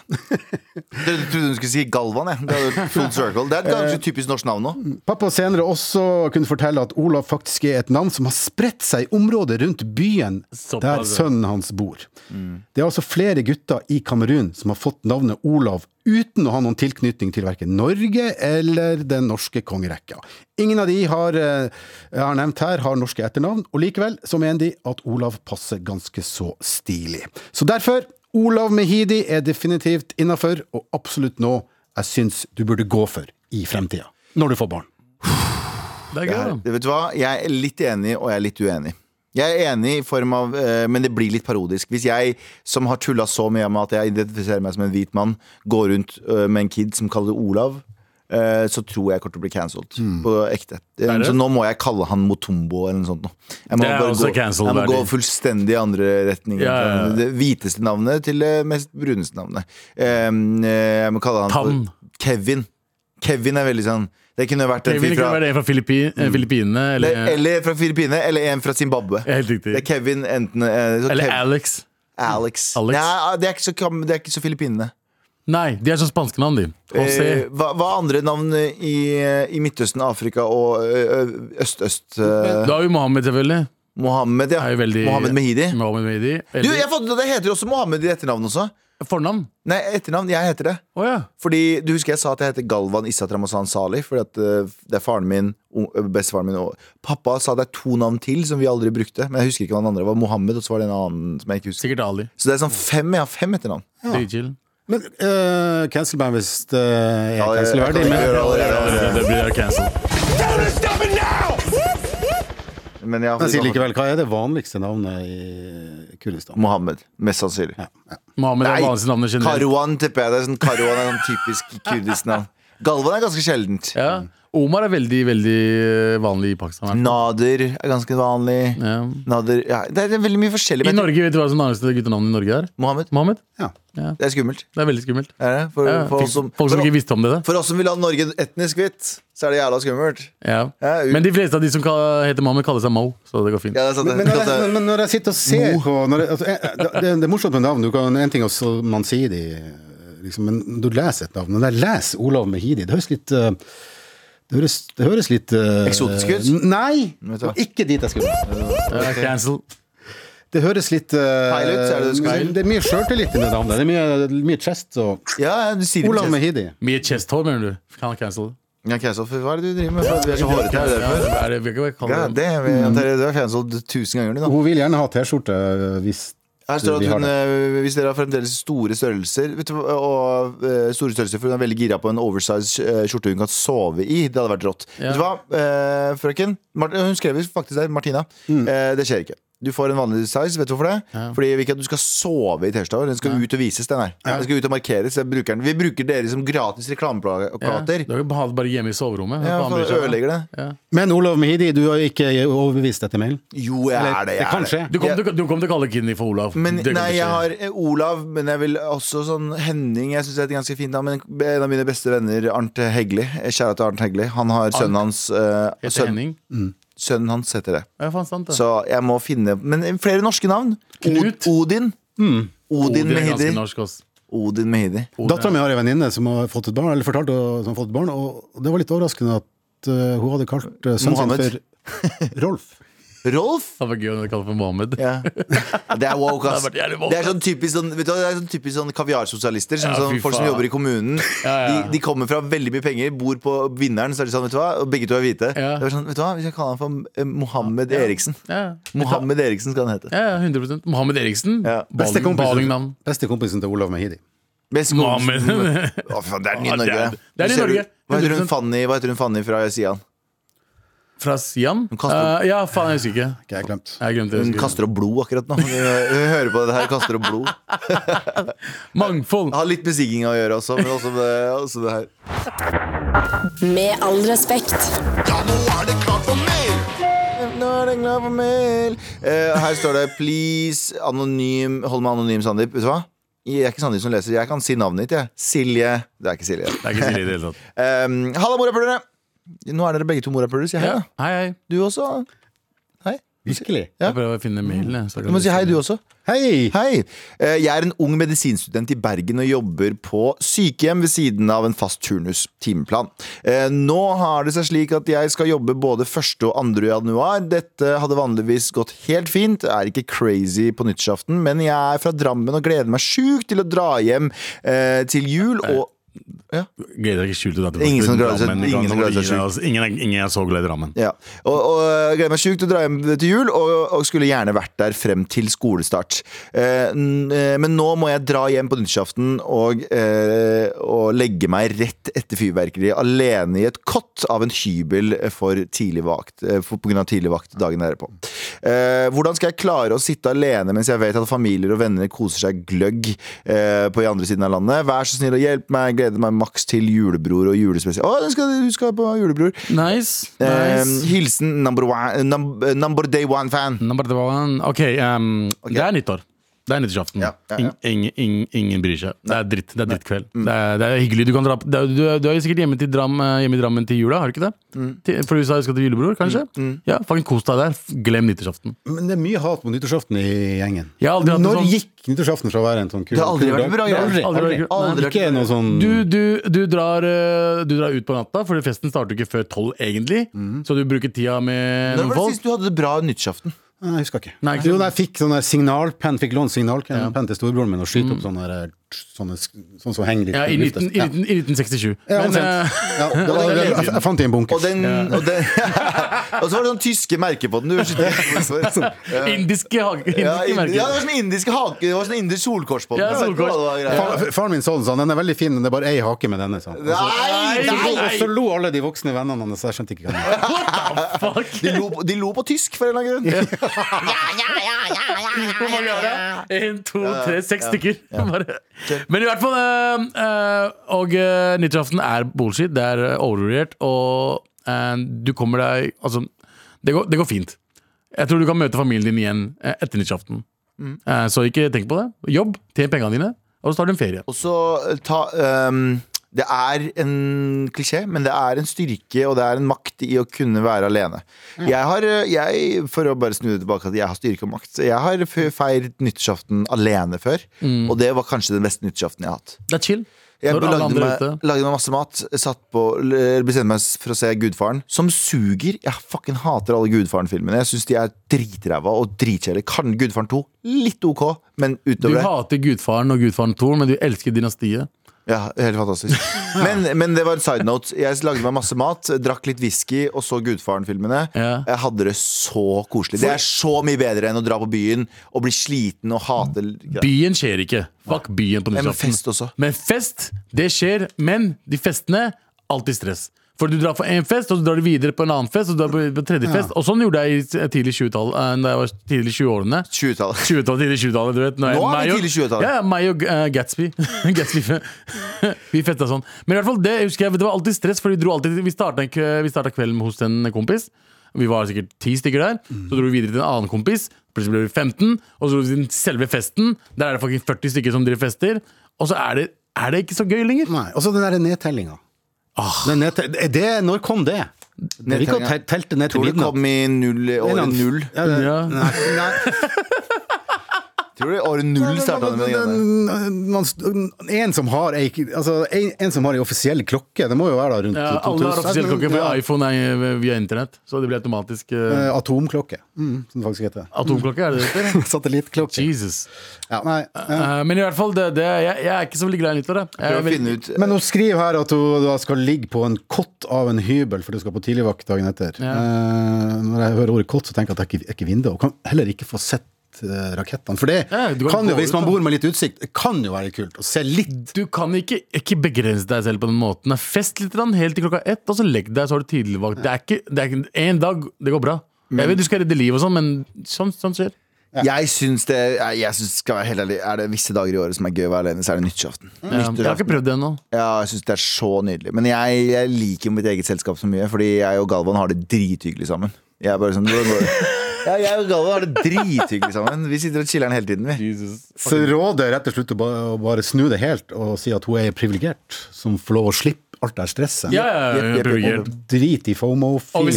Dere trodde hun skulle si Galvan. Jeg. Det, er jo full circle. det er et ganske typisk norsk navn nå. Pappa senere også kunne fortelle at Olav faktisk er et navn som har spredt seg i området rundt byen der Såpass, ja. Mm. sønnen hans bor. Det er altså flere gutter i Kamerun som har fått navnet Olav uten å ha noen tilknytning til verken Norge eller den norske kongerekka. Ingen av de har, eh, jeg har nevnt her, har norske etternavn, og likevel så mener de at Olav passer ganske så stilig. Så derfor, Olav Mehidi er definitivt innafor, og absolutt nå jeg syns du burde gå for i fremtida. Når du får barn. Det er gøy, da. Det, vet du hva? Jeg er litt enig, og jeg er litt uenig. Jeg er enig i form av eh, Men det blir litt parodisk. Hvis jeg, som har tulla så mye med at jeg identifiserer meg som en hvit mann, går rundt eh, med en kid som kaller det Olav eh, så tror jeg jeg kommer til å bli cancelled. På ekte. Eh, Hmm. Er det? Så nå må jeg kalle han Motombo eller noe sånt. nå. Jeg må, Det er bare også gå, cancelled, jeg må gå Bernie. fullstendig i andre retning. Ja, ja, ja. Fra Det hviteste navnet til det mest bruneste navnet. Eh, eh, jeg må kalle han Tan. for Kevin. Kevin er veldig sånn Det kunne vært en Kevin fyr kunne fra Mm. være en fra Filippi- eh, Filippinene, eller, eller, eller fra Filippinene, eller en fra Zimbabwe. Ja, Helt Det er riktig. Kevin enten eh, så Eller Kev- Alex. Alex. Alex. Nei, ah, det er ikke så, kam- det er ikke så Filippinene. Nei, de er sånn spanske navn, de. José. Eh, hva, hva andre navn i, eh, i Midtøsten, Afrika og eh, øst-øst? Du har jo Mohammed, selvfølgelig. eh, Mohammed, ja. Er jo veldig Mohammed Mehidi. Mohammed Mehidi. Du, Eller jeg fant ut at det heter også Mohammed i etternavn også. fornavn. Nei, etternavn. Jeg heter det. Å ja. Fordi du husker jeg sa at jeg heter Galvan Issat Ramazan Sali. Fordi at eh, det er faren min, o- bestefaren min og Pappa sa det er to navn til som vi aldri brukte. Men jeg husker ikke hva den andre var. Mohammed, og så var det en annen som jeg ikke husker. Sikkert Ali. Så det er sånn fem, jeg har fem etternavn. Dritchill. Men uh, cancel meg hvis det er Ja, det- det cancelverdig. kan jeg Men gjøre allerede. Det blir cancel. Men jeg jeg har sier likevel, hva er det vanligste navnet i Kurdistan? Mohammed, mest sannsynlig. Mohammed er Nei, vanligste navnet generelt. Karwan tipper jeg. Det er sånn Karwan er sånn typisk kurdisk navn. Galvan er ganske sjeldent. Ja. Omar er veldig, veldig eh, vanlig i Pakistan. Nader er ganske vanlig. Ja. Nader, ja, det er veldig mye forskjellig. I men- Norge, vet du hva som er vanligste guttenavn i Norge er? Mohammed. Mohammed? Ja. Det er skummelt. Det er veldig skummelt. Er det? For, Ja, for, Folk oss som, folk som for, ikke visste om det. da. for oss som vil ha Norge etnisk hvitt, så er det jævla skummelt. Ja. Ja, u- Men de fleste av de som ka- heter Mohammed, kaller seg Mo, så det går fint. Ja, det er sant, Men, men, det. når jeg, men- Det er- men når jeg sitter og ser på når jeg, altså, jeg, det, det er morsomt med navn. Du kan, en ting er så man sier de, liksom, men når du leser et navn. Når jeg leser Olav Mehidi, det høres litt eh, det høres, det høres litt eh, Eksotisk ut? n- Nei! Vet Det du hva? var ikke dit jeg skulle. Ja, cancel. Det høres litt eh, Feil ut, er det du skulle si? Det er mye sjøltillit i det navnet. Det er mye, mye chest og Ja, du sier det. Olav Mehidi. Mye chesthår, mener du? Kan han cancel? Ja, Kristoffer, hva er det du driver med? For at vi er så hårete her. det er Ja, derfor. det er det, vi kan ikke kalle Ja, det. det, vi- Terje, du er cancelled tusen ganger, du, da. Hun vil gjerne ha T-skjorte eh, hvis Her står det Vi at har hun, eh, hvis dere har fremdeles store størrelser vet du, hva, og, eh, Store størrelser, for hun er veldig gira på en oversized eh, skjorte hun kan sove i. Det hadde vært rått. Ja. Vet du hva, eh, frøken? Mart hun skrev faktisk der, Martina. Eh, det skjer ikke. Du får en vanlig size. Vet du hvorfor det? Fordi vi vil ikke at du skal sove i T-skjorta vår. Den skal ut og vises. den her Den skal ut og markeres. Jeg bruker den. Vi bruker dere som gratis Ja, reklameplakater. Du har jo behandlet bare hjemme i soverommet. Ja, Hva faen for bryr seg om det? ødelegger det. Men Olav Mehidi, du har ikke overbevist etter mailen? Jo, jeg Eller, er det. det Jeg kan er det. skje. Du kommer til, du kom til å kalle Kidney for Olav. Men, Det kommer nei, til å jeg skje. har eh, Olav, men jeg vil også sånn Henning. Jeg synes det er et ganske fint navn. Men en av mine beste venner, Arnt Hegli. eh, Kjære til Arnt Hegli. Han har sønnen hans eh, Heter sønn, Henning. Sønnen hans heter det. Ja, faen sant det. Så jeg må finne Men flere norske navn. Knut. Mm. Odin. Odin Odin er Mehidi. ganske norsk, ass. Odin Mehidi. Dattera mi har en venninne som har fått et barn, eller fortalte som har fått et barn, og det var litt overraskende at eh, hun hadde kalt eh, sønnen sin Mohammed. for Rolf. Sånn Rolf. Det var gøy om du kaller for Mohammed. Ja. Det er woke, ass. Det er jævlig woke, Det er sånn typisk sånn, vet du, hva, det er sånn typisk sånn kaviarsosialister. Sånn, Ja, sånn, fy folk som faen. jobber i kommunen. Ja, ja. De, de kommer fra veldig mye penger, bor på vinneren, så er de sånn, vet du hva, og begge to er hvite. Ja. Det er sånn, vet du hva, Vi skal kalle han for eh, Mohammed Eriksen. Ja, Mohammed Eriksen skal han hete. ja, ja, 100 Mohammed Eriksen. Ja. Beste Baling- kompisen, Balingnavn. beste kompisen til Olav Mehidi. Best Mohammed. Å, fy faen, det er den nye Ja, det Norge. Ser er- det er sånn- den nye du- Norge. Hva heter hun 100%. Fanny, hva heter hun Fanny fra Sian? Fra Sian? kaster- Eh, ja, faen, jeg husker ikke. Ikke jeg glemt. Jeg glemte det. Hun jeg husker kaster opp blod akkurat nå. Hun hører på det her, kaster opp blod. ikke. Mangfold! Har litt med sigginga å gjøre også, men også det, også det her. Med all respekt. Ja, nå er det klart for mer! Nå er den glad for mail. Eh, her står det 'please, anonym Hold meg anonym, Sandeep. Vet du hva? Jeg er ikke Sandeep som leser. Jeg kan si navnet ditt, jeg. Silje. Det er ikke Silje. Det er ikke tidlig i det hele tatt. Um, Halla, morapulere! Nå er dere begge to morapulere. Si hei, Ja. da. Hei, hei. Du også. Virkelig. Ja. Jeg prøver å finne mailen. jeg, så jeg Du må si hei, du også. Hei! Hei. Eh, Jeg er en ung medisinstudent i Bergen og jobber på sykehjem ved siden av en fast turnus-timeplan. Eh, Nå har det seg slik at jeg skal jobbe både 1. og 2. januar. Dette hadde vanligvis gått helt fint, er ikke crazy på nyttårsaften, men jeg er fra Drammen og gleder meg sjukt til å dra hjem eh, til jul og Gleder deg ikke skjult til at du Ingen som gleder seg- faktisk Drammen, ikke ingen sant? som gleder seg Ingen av oss- Ingen, er- ingen er så glad i Drammen. Ja, og, og eh, jeg gleder meg sjukt til å dra hjem til jul, og, og skulle gjerne vært der frem til skolestart. Eh, n- eh, men nå må jeg dra hjem på nyttårsaften og, eh, og legge meg rett etter fyrverkeriet alene i et kott av en hybel for tidlig vakt, eh, for, på grunn av tidlig vakt dagen derpå. Eh, hvordan skal jeg klare å sitte alene mens jeg vet at familier og venner koser seg gløgg eh, på i andre siden av landet? Vær så snill og hjelp meg, gleder gleder meg maks til julebror og julespesial. Å, den skal, du skal på julebror! Nice. Eh, nice. hilsen number, one, num, eh, number day one-fan. Number one. OK, ehm, det er nyttår. Det er nyttårsaften. Ja, ja, Mm. ja. Ingen, ingen, ingen bryr seg. Det er dritt. Det er drittkveld. Det, er- det er hyggelig. Du, kan dra, på- det er, du, er, du er jo sikkert hjemme, til Dram, eh, hjemme i Drammen til jula, har du ikke det? Mm. Til, for du sa du skal til julebror, kanskje? Ja, Fucking kos deg der. Glem nyttårsaften. Men det er mye hat mot nyttårsaften i gjengen. Jeg har aldri hatt en Når sånn- gikk nyttårsaften fra å være en sånn kul Det har aldri vært bra, ja. Aldri. Aldri vært aldri, kul. Nei, aldri. Ikke noe sånn Du, du, du, drar, eh, du drar ut på natta, for festen starter jo ikke før tolv, egentlig. Så du bruker tida Mm. med Når noen var det folk. sist du hadde det bra nyttårsaften? Nei, jeg husker ikke. Nei, ikke jo, sant. nei, jeg fikk sånn der signalpenn, fikk lånt signalpenn til storebroren min og skyte opp sånne, der, sånne, sk- sånne som henger litt Mm. Ja, i, i lufta. 19, i, Ja. 19, i 1967. Ja, Men, omtrent. eh, ja, det var, jeg, jeg, jeg fant det i en bunke. Og, den, og, den, og så var det sånn tyske merker på den. Du, skjønner ikke hvorfor. indiske hage- indiske ja, ind- merker. ja, det var sånn indisk hake Det var sånn indisk solkors på den. Ja, solkors. Det var greia. Far, faren min sa den sånn, den er veldig fin, men det er bare ei hake med denne. sa han. Og Nei, så- nei! Og så lo alle de voksne vennene hans, så jeg skjønte ikke hva det var. Fuck. De lo, de lo på tysk, for en eller annen grunn. Hvor mange er det? En, to, tre, seks stykker. Bare. Men i hvert fall eh, eh, Og eh, nyttårsaften er bullshit. Det er eh, overvurdert, og eh, du kommer deg Altså, det går, det går fint. Jeg tror du kan møte familien din igjen eh, etter nyttårsaften. Mm. Eh, så ikke tenk på det. Jobb, tjen pengene dine, og så tar du en ferie. Og så eh, ta ehm, Det er en klisjé, men det er en styrke og det er en makt i å kunne være alene. Mm. Jeg har, eh, jeg, For å bare snu det tilbake, at jeg har styrke og makt. så Jeg har f- feiret nyttårsaften alene før, Mm. og det var kanskje den beste nyttårsaften jeg har hatt. Det er chill. Jeg Når alle lagde andre er meg, ute. lagde meg masse mat, satt på, eller bestemte meg for å se Gudfaren, som suger. Jeg fucking hater alle Gudfaren-filmene. Jeg syns de er dritræva og dritkjedelige. Kan Gudfaren 2 litt OK, men Du utover det hater Gudfaren og Gudfaren Thor, men du elsker Dynastiet. Ja, helt fantastisk. Men, men det var en side note. Jeg lagde meg masse mat, drakk litt whisky og så Gudfaren-filmene. Ja. Jeg hadde det så koselig. Det er så mye bedre enn å dra på byen og bli sliten og hate greier. Byen skjer ikke. Fuck byen på Nei, men nyttårsaften. fest også. Men fest, det skjer. Men de festene, alltid stress. For du drar på én fest, og så drar du videre på en annen fest, og så drar du på på tredje fest. Og sånn gjorde jeg i tidlig 20-tall, eh, da jeg var tidlig i 20-årene. 20-tallet. 20-tallet, tidlig 20-tallet, du vet. Nå Nå er vi meg og- tidlig 20-tallet. Ja, ja, meg og eh, Gatsby. Gatsby. vi festa sånn. Men i hvert fall, det husker jeg, det var alltid stress, for vi, dro alltid, vi, starta, en kø- vi starta kvelden hos en kompis. Vi var sikkert ti stykker der. Så dro vi videre til en annen kompis. Plutselig ble vi 15. Og så dro vi til den selve festen. Der er det faktisk 40 stykker som driver fester. Og så er det, er det ikke så gøy lenger. Nei, Og så den der nedtellinga. Ah. Den nedte- det- det, når kom det? Det er ikke å Nedtellinga. tel- telte ned til Tror du det midnatt. kom i null, En året annen- null? Ja, det- Ja. Nei, nei. Tror du året null starta med det? greiene? Den- man st- En som har ei altså, en, en som har ei offisiell klokke, det må jo være da rundt Ja, alle har 2000. offisiell klokke, for Ja, iPhone er eh, via internett. Så det blir automatisk eh, eh, Atomklokke, mm, som det faktisk heter. atomklokke. er det det heter? Satellittklokke. Jesus. Ja, nei, ja. Eh, men i hvert fall, det, det, jeg, jeg er ikke så veldig glad i nyttår. jeg. Jeg er Prøv å veldig- finne ut Men hun skriver her at hun da skal ligge på en kott av en hybel, for du skal på tidligvakt dagen etter. Eh, når jeg hører ordet kott, så tenker jeg at det er ikke, er ikke vindu. Og kan heller ikke få sett eh, rakettene. For det Ja, du kan kan, gå jo, hvis ut, man da. bor med litt utsikt, det kan jo være litt kult å se litt. Du kan ikke, ikke begrense deg selv på den måten. Fest litt grann, helt til klokka ett, og så legg deg, så har du tidligvakt. Det er ikke, det er ikke en dag, det går bra. jeg vet du skal redde liv og sånn, men sånn, sånn skjer. Jeg syns det jeg jeg synes, skal være helt ærlig, Er det visse dager i året som er gøy å være alene, så er det nyttårsaften. Ja, jeg har ikke prøvd det ennå. Ja, jeg synes det er så nydelig Men jeg, jeg liker mitt eget selskap så mye Fordi jeg og Galvan har det drithyggelig sammen Jeg er bare sånn "Hvordan går det?" ja, Jeg og Galvan har det drithyggelig sammen Vi sitter og chiller'n hele tiden vi. Så rådet er rett og slett å bare, å bare snu det helt og si at hun er privilegert som får lov å slippe alt det her stresset. Ja, ja, ja, Jepp, jepp, privilegert. jepp. Drit Og hvis i jeg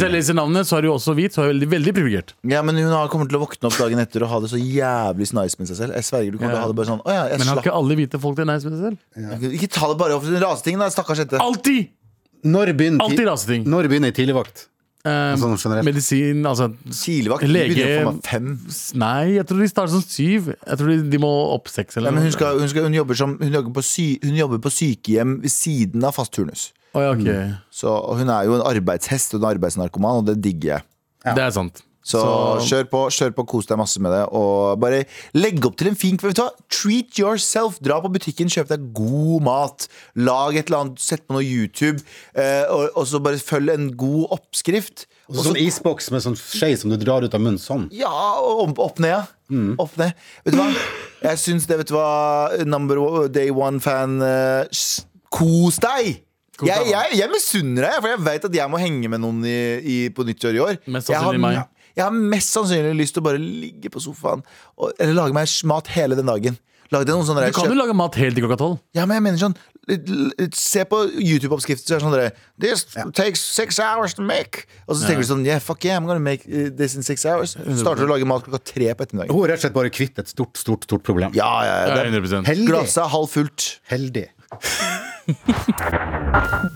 FOMO-feeling. leser navnet, så er du også hvit, så er jeg veldig, veldig privilegert. Ja, men hun har- kommer til å våkne opp dagen etter Og ha det så jævlig nice med seg selv Jeg sverger du kommer til å ha det bare sånn Åja, jeg Men har slapp ikke alle hvite folk det? Nei, som det selv? Ikke ta det bare over til rasetingen da, stakkars jente Alltid! Når begynner, Alltid ti- raseting. når begynner tidligvakt? Eh, Sånn generelt. medisin, altså Tidligvakt, hun Lege- begynner å få meg fem s- Nei, jeg tror de starter som syv. Jeg tror de, de må opp seks eller Nei, men hun, noe. skal, hun, skal, hun, jobber som, hun, jobber på sy, hun jobber på sykehjem ved siden av fast turnus Å, ja, ok. så, og Hun er jo en arbeidshest og en arbeidsnarkoman Og det digger jeg Det er sant. Så, kjør på, kjør på, kos deg masse med det. Og bare legg opp til en fin kveld. Vet du hva? Treat yourself. Dra på butikken, kjøp deg god mat. Lag et eller annet, sett på noe YouTube, eh, og, og så bare følg en god oppskrift. Og så sånn isboks med sånn skje som du drar ut av munnen sånn. Ja, og opp, opp ned, ja. Mm. Opp ned. Vet du hva? Jeg syns det, vet du hva, number one, day one-fan eh, Kos deg! Kos jeg deg, da. jeg, jeg misunner deg, for jeg vet at jeg må henge med noen i, i, på nyttår i år. Mest Jeg har- sannsynlig meg. Jeg har mest sannsynlig lyst til å bare ligge på sofaen og, eller lage meg mat hele den dagen. Lag deg noen sånne Du der- kan jo lage mat helt til klokka tolv. Ja, men jeg mener sånn l- l- Se på YouTube-oppskrifter, så er det sånn dere This takes six hours to make. Og så tenker du sånn Yeah, fuck yeah, I'm gonna make uh, this in six hours. Starter å lage mat klokka tre på ettermiddagen. Hun er rett og slett bare kvitt et stort, stort, stort problem. Ja, ja, ja. det- 100 Heldig. Glasset er halvfullt. Heldig.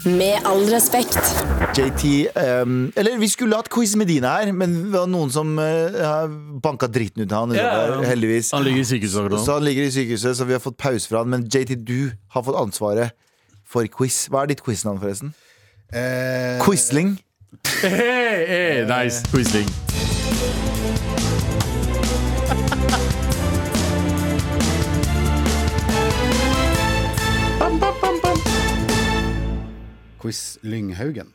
Med all respekt. JT ehm, Eller vi skulle hatt quiz med Dina her, men det var noen som eh, har banka dritten ut av han. i Ja, løpet av- ja. Heldigvis. Han ligger i sykehuset akkurat Så nå. han ligger i sykehuset, så vi har fått pause fra han. Men JT, du har fått ansvaret for quiz. Hva er ditt quiznavn, forresten? Eh, Quisling. Hey, hey, nice Quisling. Quiz Lynghaugen.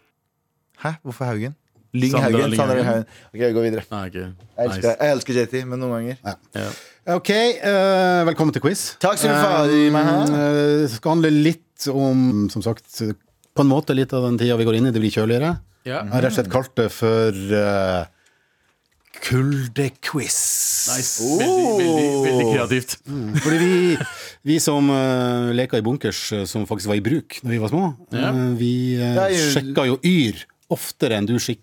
Hæ? Hvorfor Haugen? Sandra Lynghaugen. Lyng Sandra Haugen. Haugen. Ok, jeg går videre. Ah, ok. Jeg elsker, Nice. jeg elsker JT, men noen ganger Ok, eh, velkommen til quiz. Takk skal du faen i meg, hæ? Eh, Det skal handle litt om, som sagt, på en måte litt av den tida vi går inn i. Det blir kjøligere. Ja. Jeg har rett og slett kalt det for eh, kuldequiz. Mm. Nice. Veldig, veldig, veldig kreativt. Fordi vi, vi som uh, leka i bunkers, eh, som faktisk var i bruk da vi var små, Ja. eh, vi uh, Det er jo- sjekka jo Yr oftere enn du sjekka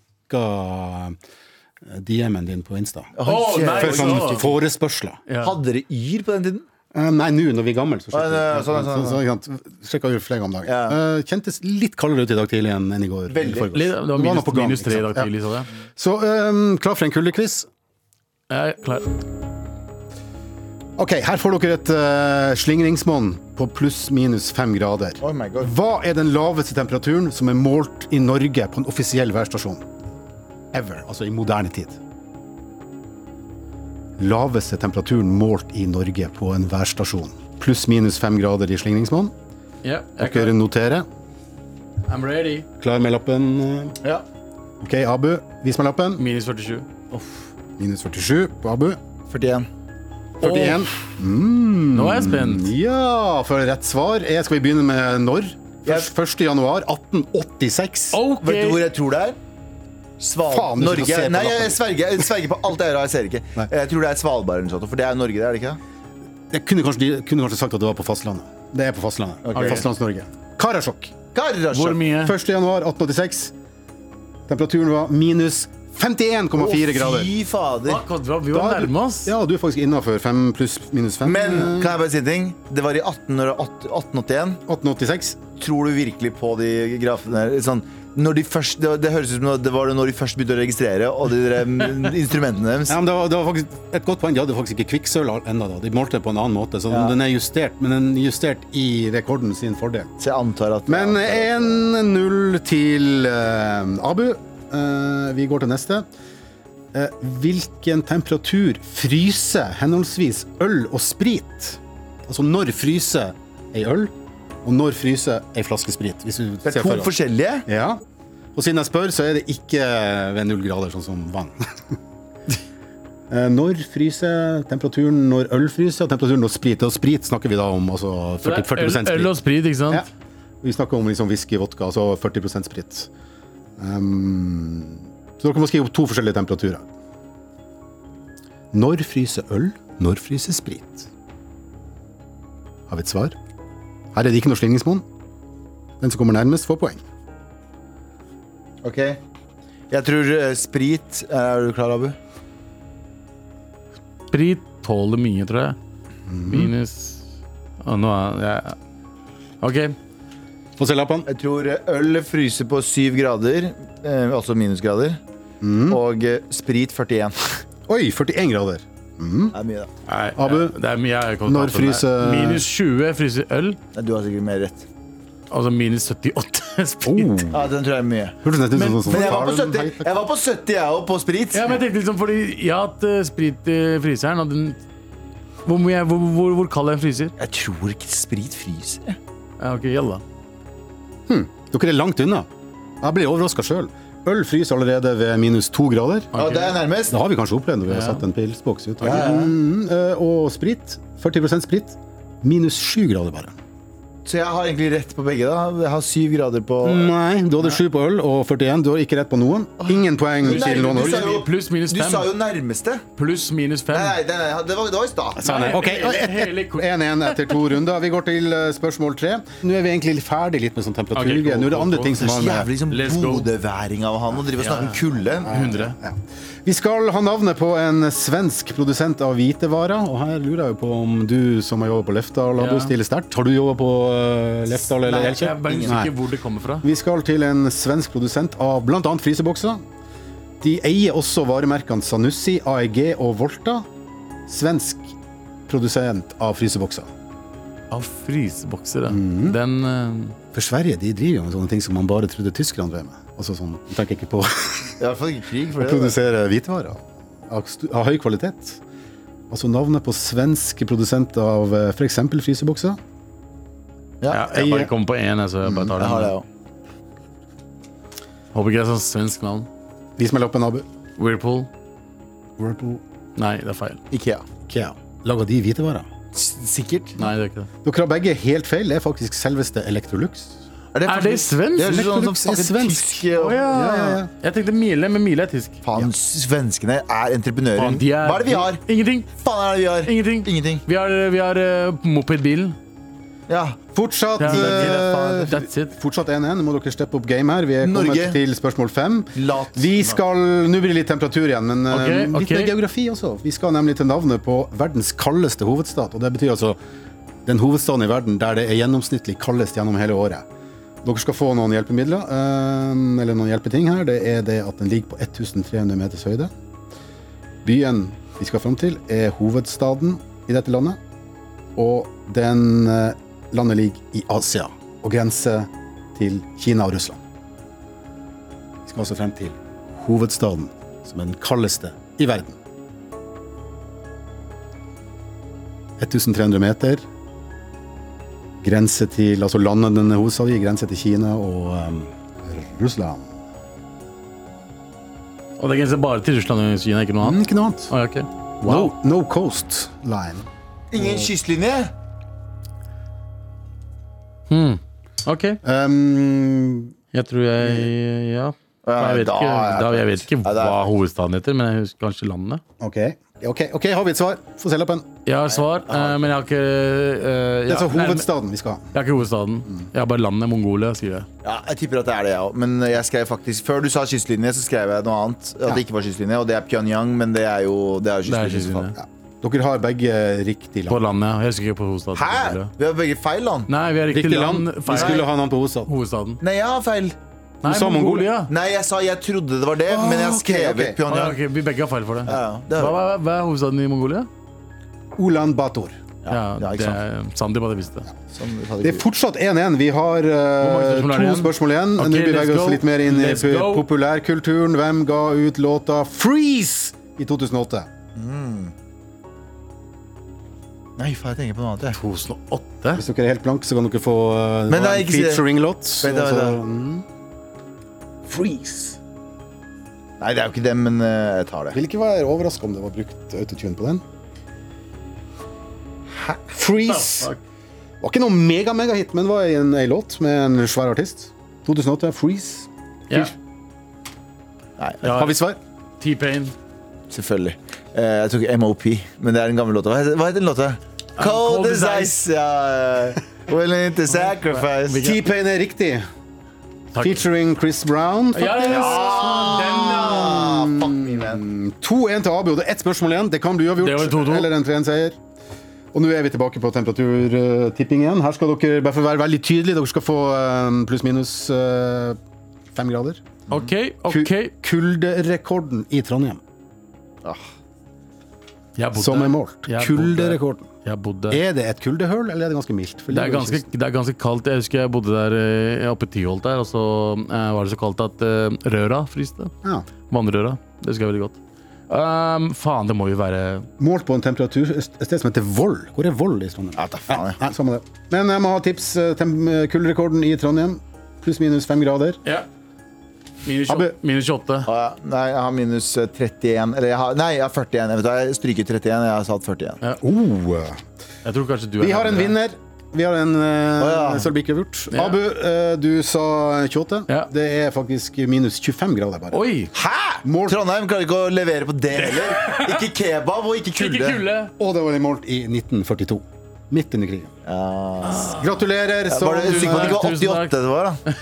eh, DM-en din på Insta. Å, jævlig. nei, For sånn så- forespørsler. Ja. Hadde dere yr på den tiden? Eh, Nei, nå når vi er gamle, så Å, ja, ja, sjekker sånn, vi. sånn, Så- så, ikke sant? Sjekka ut flere ganger om dagen. Ja. Eh, Kjentes litt kaldere ut i dag tidlig enn enn i går. Veldig. i forgårs. Litt- Det var noe minus, på gang, minus tre i ikke dag sant? tidlig, så jeg. Ja. Så ehm, klar for en kuldequiz. Jeg er klar. Ok, her får dere et uh, slingringsmonn på pluss-minus fem grader. Oh my god. Hva er den laveste temperaturen som er målt i Norge på en offisiell værstasjon? Ever, altså i moderne tid. Laveste temperaturen målt i Norge på en værstasjon. Pluss-minus fem grader i slingringsmonn. Ja, jeg er Dere klar. noterer. I'm ready. Klar med lappen? eh. Ja. Ok, Abu. Vis meg lappen. Minus 47. Minus 47 på Abu. 41. 41. Nå er jeg Mm. spent. Ja, for rett svar er Skal vi begynne med når? Først, Jeg- 1. januar 1886. Ok. Vet du hvor jeg tror det er? Sval Faen, du skal se Norge. Nei, på jeg, lappen. jeg, sverger, jeg sverger på alt jeg gjør, jeg ser ikke. Nei. Jeg tror det er Svalbard eller noe sånt, for det er Norge, det er det ikke? det? Jeg kunne kanskje, de kunne kanskje sagt at det var på fastlandet. Det er på fastlandet. Fastlands-Norge. Karasjok. Karasjok. Hvor mye? 1. januar 1886. Temperaturen var minus 51,4 grader. Fy fader. Hva, hva, vi Da var er du- nærme oss. Ja, du er faktisk innafor 5 pluss minus 5. Men kan jeg bare si en ting? Det var i 1808 1881. 1886. Tror du virkelig på de grafene her? Sånn, når de først, det, det høres ut som det var når de først begynte å registrere, og de der, mm, instrumentene deres. Ja, men det, var, det var faktisk et godt poeng. De hadde faktisk ikke kvikksølv ennå. da. De målte det på en annen måte, så den- Ja. den er justert, men den er justert i rekorden sin fordel. Så jeg antar at Men ja, 1-0 til eh, Abu. Eh, vi går til neste. Eh, hvilken temperatur fryser henholdsvis øl og sprit? Altså når fryser ei øl, og når fryser ei flaske sprit? Hvis vi Det ser er to for oss. forskjellige. Ja. Og siden jeg spør, så er det ikke ved null grader, sånn som vann. Eh, Når fryser temperaturen når øl fryser, og temperaturen når sprit? Og sprit snakker vi da om altså 40, 40 øl, sprit. øl og sprit, ikke sant? Ja. Vi snakker om liksom whisky, vodka, altså 40 sprit. Um, så dere må skrive opp to forskjellige temperaturer. Når fryser øl? Når fryser sprit? Har vi et svar? Her er det ikke noe slingringsmonn. Den som kommer nærmest, får poeng. Ok Jeg tror eh, sprit Er du klar, Abu? Sprit tåler mye, tror jeg. Mhm. Minus Å, Nå er jeg OK. Få se lappene. Jeg tror eh, øl fryser på 7 grader eh, Altså minusgrader Og eh, sprit 41 Oi, 41 grader. Det er mye da Nei, Abu, jeg- det er mye jeg kommer til å ta på når den fryser- der. Minus 20 fryser øl. Nei, Du har sikkert mer rett Altså minus 78 Oh. sprit. Ja, den tror jeg er mye Hørtes nesten ut som sånn Men jeg var på Harlem 70 Heights. Jeg var på 70 jeg og på sprit Ja, men jeg tenkte liksom fordi jeg har hatt eh, sprit i fryseren, og den Hvor, mye, hvor, hvor, hvor kald er en fryser? Jeg tror ikke sprit fryser jeg. Ja, OK, jalla. Dere er langt unna. Jeg blir overraska sjøl. Øl fryser allerede ved minus to grader. Ja, det er nærmest Det har vi kanskje opplevd når vi har Ja. satt en pilsboks ut. ja, ja. Mm, eh, og sprit. 40 sprit. Minus 7 grader bare. Så jeg har egentlig rett på begge. da Jeg har syv grader på Nei, du hadde 7 på øl og 41. Du har ikke rett på noen. Ingen poeng Nei, til noen du øl. sa jo- Pluss minus Du fem. sa jo nærmeste. Pluss minus Nei, fem. nei, nei, nei det, var, det var i stad. Nei, Sånn Ok, Hele- hele- 1-1 etter to runder. Vi går til eh, spørsmål tre. Nå er vi egentlig ferdig litt med sånn Ok, temperaturgreie. go, Nå er det go, andre go. ting som Så har med Jævlig sånn Let's go. Mm. bodøværing av han å drive og snakke om kulde. 100. Vi skal ha navnet på en svensk produsent av hvitevarer. Og her lurer jeg jo på om du som har jobba på Lefdal, har Ja. du stiller sterkt. Har du jobba på eh, Lefdal eller Jeg er Elkjøp? bare Nei. usikker hvor det kommer fra. Vi skal til en svensk produsent av bl.a. frysebokser. De eier også varemerkene Sanussi, AEG og Volta. Svensk produsent av frysebokser. Av frysebokser, ja. Mhm. Den eh, For Sverige de driver jo med sånne ting som man bare trodde tyskerne drev med. Altså sånn, Jeg tenker ikke på å I hvert fall ikke krig for det. da. produsere hvitevarer av, stu- av høy kvalitet. Altså navnet på svenske produsenter av eh, f.eks. frysebokser. ja, Jeg bare kom på én, jeg, så jeg bare tar Jeg har det den. Mm. også. Håper ikke det er sånn svensk navn. De som er oppe nabo. Whirlpool. Whirlpool, Nei, det er feil. Ikea. Ikea. Lager de hvitevarer? Sikkert. Nei, det er ikke det. Dere har begge helt feil. Det er faktisk selveste Electrolux. det, Er det svensk? Det er sånn som Electrolux er snakker svensk. tysk. og- Ja, ja, ja. Jeg tenkte Miele, men Miele er tysk. Faen, svenskene er entreprenører. Faen, de er- Hva er det vi har? Ingenting. Faen er det vi har? Ingenting. Ingenting. Vi har, vi har eh, mopedbilen. Ja. Fortsatt Ja, det er- det er eh, faen- that's it. Fortsatt 1-1. Nå må dere steppe opp game her. Vi er kommet Norge. til spørsmål 5. Lat. Vi skal, Nå blir det litt temperatur igjen, men eh, Ok, litt ok. mer geografi også. Vi skal nemlig til navnet på verdens kaldeste hovedstad. Og det betyr altså den hovedstaden i verden der det er gjennomsnittlig kaldest gjennom hele året. Dere skal få noen hjelpemidler, eh, eller noen hjelpeting her. Det er det at den ligger på 1300 meters høyde. Byen vi skal fram til, er hovedstaden i dette landet. Og den eh, landet ligger i Asia og grenser til Kina og Russland. Vi skal altså frem til hovedstaden, som er den kaldeste i verden. 1300 meter. Grense til Altså landet den er hovedstad i, grense til Kina og eh, Russland. Og det grenser bare til Russland og Kina, ikke noe Men annet. ikke noe annet. Å, ja, ok. No, no coast line. Ingen kystlinje? Ok. Um, Jeg tror jeg Ja. Jeg vet, da ikke, er jeg da, jeg vet ikke Ja, det er hva fett. hovedstaden heter, men jeg husker kanskje landet. OK, Ok, ok, har vi et svar? Få se lappen. Jeg har svar, eh, men jeg har ikke eh, Det er ja, altså nei, men- hovedstaden vi skal ha. Jeg har ikke hovedstaden. Jeg har bare landet Mongolia, skriver jeg. Ja, jeg tipper at det er det, jeg òg. Men jeg skrev faktisk Før du sa kystlinje, så skrev jeg noe annet. At det ikke var kystlinje. Og det er Pyongyang, men det er jo det er jo Det er kystlinje. som faen. kystlinje. Dere har begge riktig På land. landet, ja. Jeg husker ikke på hovedstaden. Hæ? Vi har begge feil land. Nei, vi har riktig, Riktig land. land. Vi skulle ha navn på hovedstaden. Hovedstaden. Nei, jeg har feil. Nei, sa Mongolia. Nei, jeg sa jeg trodde det var det, men jeg har skrevet ok, ok. Å, ja, Pyongyang. ok, vi begge har feil for det. Ja, ja, det Hva, er hva, hva er hovedstaden i Mongolia? Ulan Bator. Ja, ja, ikke det er Sandeep hadde visst det. Sånn, vi hadde Det er fortsatt 1-1. Vi har eh, mange spørsmål er det to igjen? spørsmål igjen. Ok, Nå beveger vi let's oss go. litt mer inn i Let's go. populærkulturen. Hvem ga ut låta 'Freeze' i 2008? ikke- Nei, faen, jeg tenker på noe annet. Jeg. 2008? Hvis dere er helt blanke, så kan dere få Men eh, det var nei, en ikke si det. featuring-låt. Vent, vent, Altså, vent. mm. Freeze. Nei, det er jo ikke det, men eh, jeg tar det. Vil ikke være overraska om det var brukt autotune på den. Hæ? Ah, Freeze var ikke noe mega-mega-hit, men var en, en låt med en svær artist. 2008, Freeze. Ja. Nei, Ja, Har vi svar? T-Pain. Selvfølgelig. Eh, jeg tok MOP, men det er en gammel låt. Hva heter, hva heter den låta? Cold Cold as as ice. Ja. Willing to sacrifice. T-Pain er riktig. Takk. Featuring Chris Brown. Ja, ja, ja. Den, ja. Ah, fuck me, man. 2-1 til Abu. Det er ett spørsmål igjen. Det kan bli Det var uavgjort. 2-2. Eller en 3-1-seier. Og nå er vi tilbake på temperaturtipping igjen. Her skal dere bare for å være veldig tydelige. Dere skal få eh, pluss-minus eh, fem grader. OK, Ku- OK. Kulderekorden i Trondheim, Jeg bodde som er målt. Jeg bodde- Kulderekorden. Jeg bodde Er det et kuldehull, eller er det ganske mildt? For Det er, livet ganske, det er ganske kaldt. Jeg husker jeg bodde der eh, oppe i Tyholt der, og så eh, var det så kaldt at eh, røra fryste. Ja. Vannrøra. Det husker jeg veldig godt. Ehm, faen, det må jo være Målt på en temperatur et sted som heter Voll. Hvor er Voll i Trondheim? Ja, da faen, jeg. Nei, samme det. Men jeg må ha tips. eh, tem- eh, Kulderekorden i Trondheim, pluss-minus fem grader. Minus Abu. 28. Minus 28. Ah, ja. Nei, jeg har minus eh, 31. Eller jeg har, nei, jeg har 41. Jeg, vet, hva, jeg stryker 31. Jeg har satt 41. Oh. eh. Jeg tror kanskje du er Vi har en nærmere. vinner. Vi har en Å, ja. uh, sølvbikkjevurt. Ja. Abu, eh, du sa 28. Ja. Det er faktisk minus 25 grader bare. Oi! Hæ?! Mål. Trondheim klarer ikke å levere på det heller. Ikke kebab og ikke kulde. Ikke kulde. Og det var målt i 1942. Midt under krigen. Gratulerer Ja, som Var du sikker på at det ikke Tusen var takk. 88 det var, da?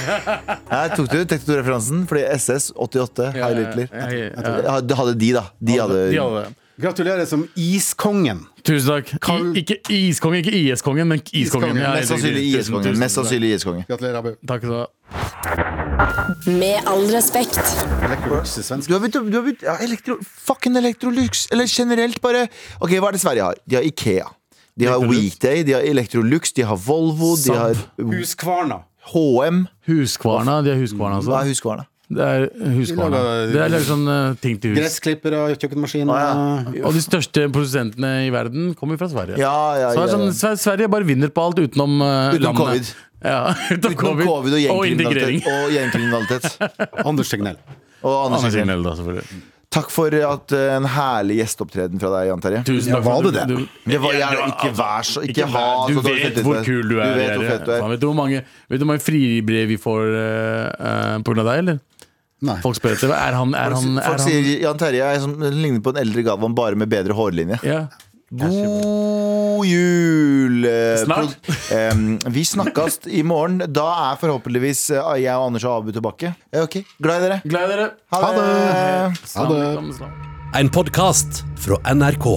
Her tok du tektoreferansen, fordi SS, 88, Ja, Heil ja, Hitler. ja, ja, ja. Ja, Det hadde de, da. De hadde De hadde det. Gratulerer som iskongen. Tusen takk. Karl- I, ikke iskongen, ikke IS-kongen, men iskongen. Iskongen. Ja, Mest sannsynlig riktig. Tusen- IS-konge. tusen Mest takk. sannsynlig IS-konge. Gratulerer, Abu. Takk skal du ha. Med all respekt. Electrolux er svensk. Du har begynt å du har begynt- ja, elektro, Fucking Electrolux! Eller generelt bare Ok, hva er det Sverige har? De har Ikea. De har Electrolux. Weekday, de har Electrolux, de har Volvo, de har Saab. Huskvarna. HM. Huskvarna. De er Hva Huskvarna, altså. er huskvarna? Det er Huskvarna. De lager- Det er liksom sånn eh, ting til hus. Gressklippere, kjøkkenmaskiner Å, Og de største produsentene i verden kommer fra Sverige. Ja, ja, ja, Så det er sånn, ja. Sve- Sverige bare vinner på alt utenom uh, Utenom covid. landet. Ja, utenom Utenom covid og integrering. gjengkriminalitet. Og gjengkriminalitet. Anders Tegnell. Og Anders Anders Grenell. Rinell, da, selvfølgelig. Takk for at eh, en herlig gjesteopptreden fra deg, Jan Terje. Tusen Ja, takk. var for- det det? du- Det var, Ja, jeg, du- ikke vær så Ikke, ha så vær- Du dårlig vet selvtillit. hvor kul du er. Du vet hvor Jerry. fett du er. Faen, Vet du hvor mange, vet du hvor mange fribrev vi får eh, eh, på grunn av deg, eller? Nei. Folk spør etter er han, er han, er Folk han sier Jan Terje er som ligner på en eldre Galvan, bare med bedre hårlinje. ja. God jul! eh, Snart. prod- Em, vi snakkes i morgen. Da er forhåpentligvis eh, jeg og Anders og Abu tilbake. Ja, ok, Glad i dere. Glad i dere. Ha det! Ha det. Salam, salam. En podkast fra NRK.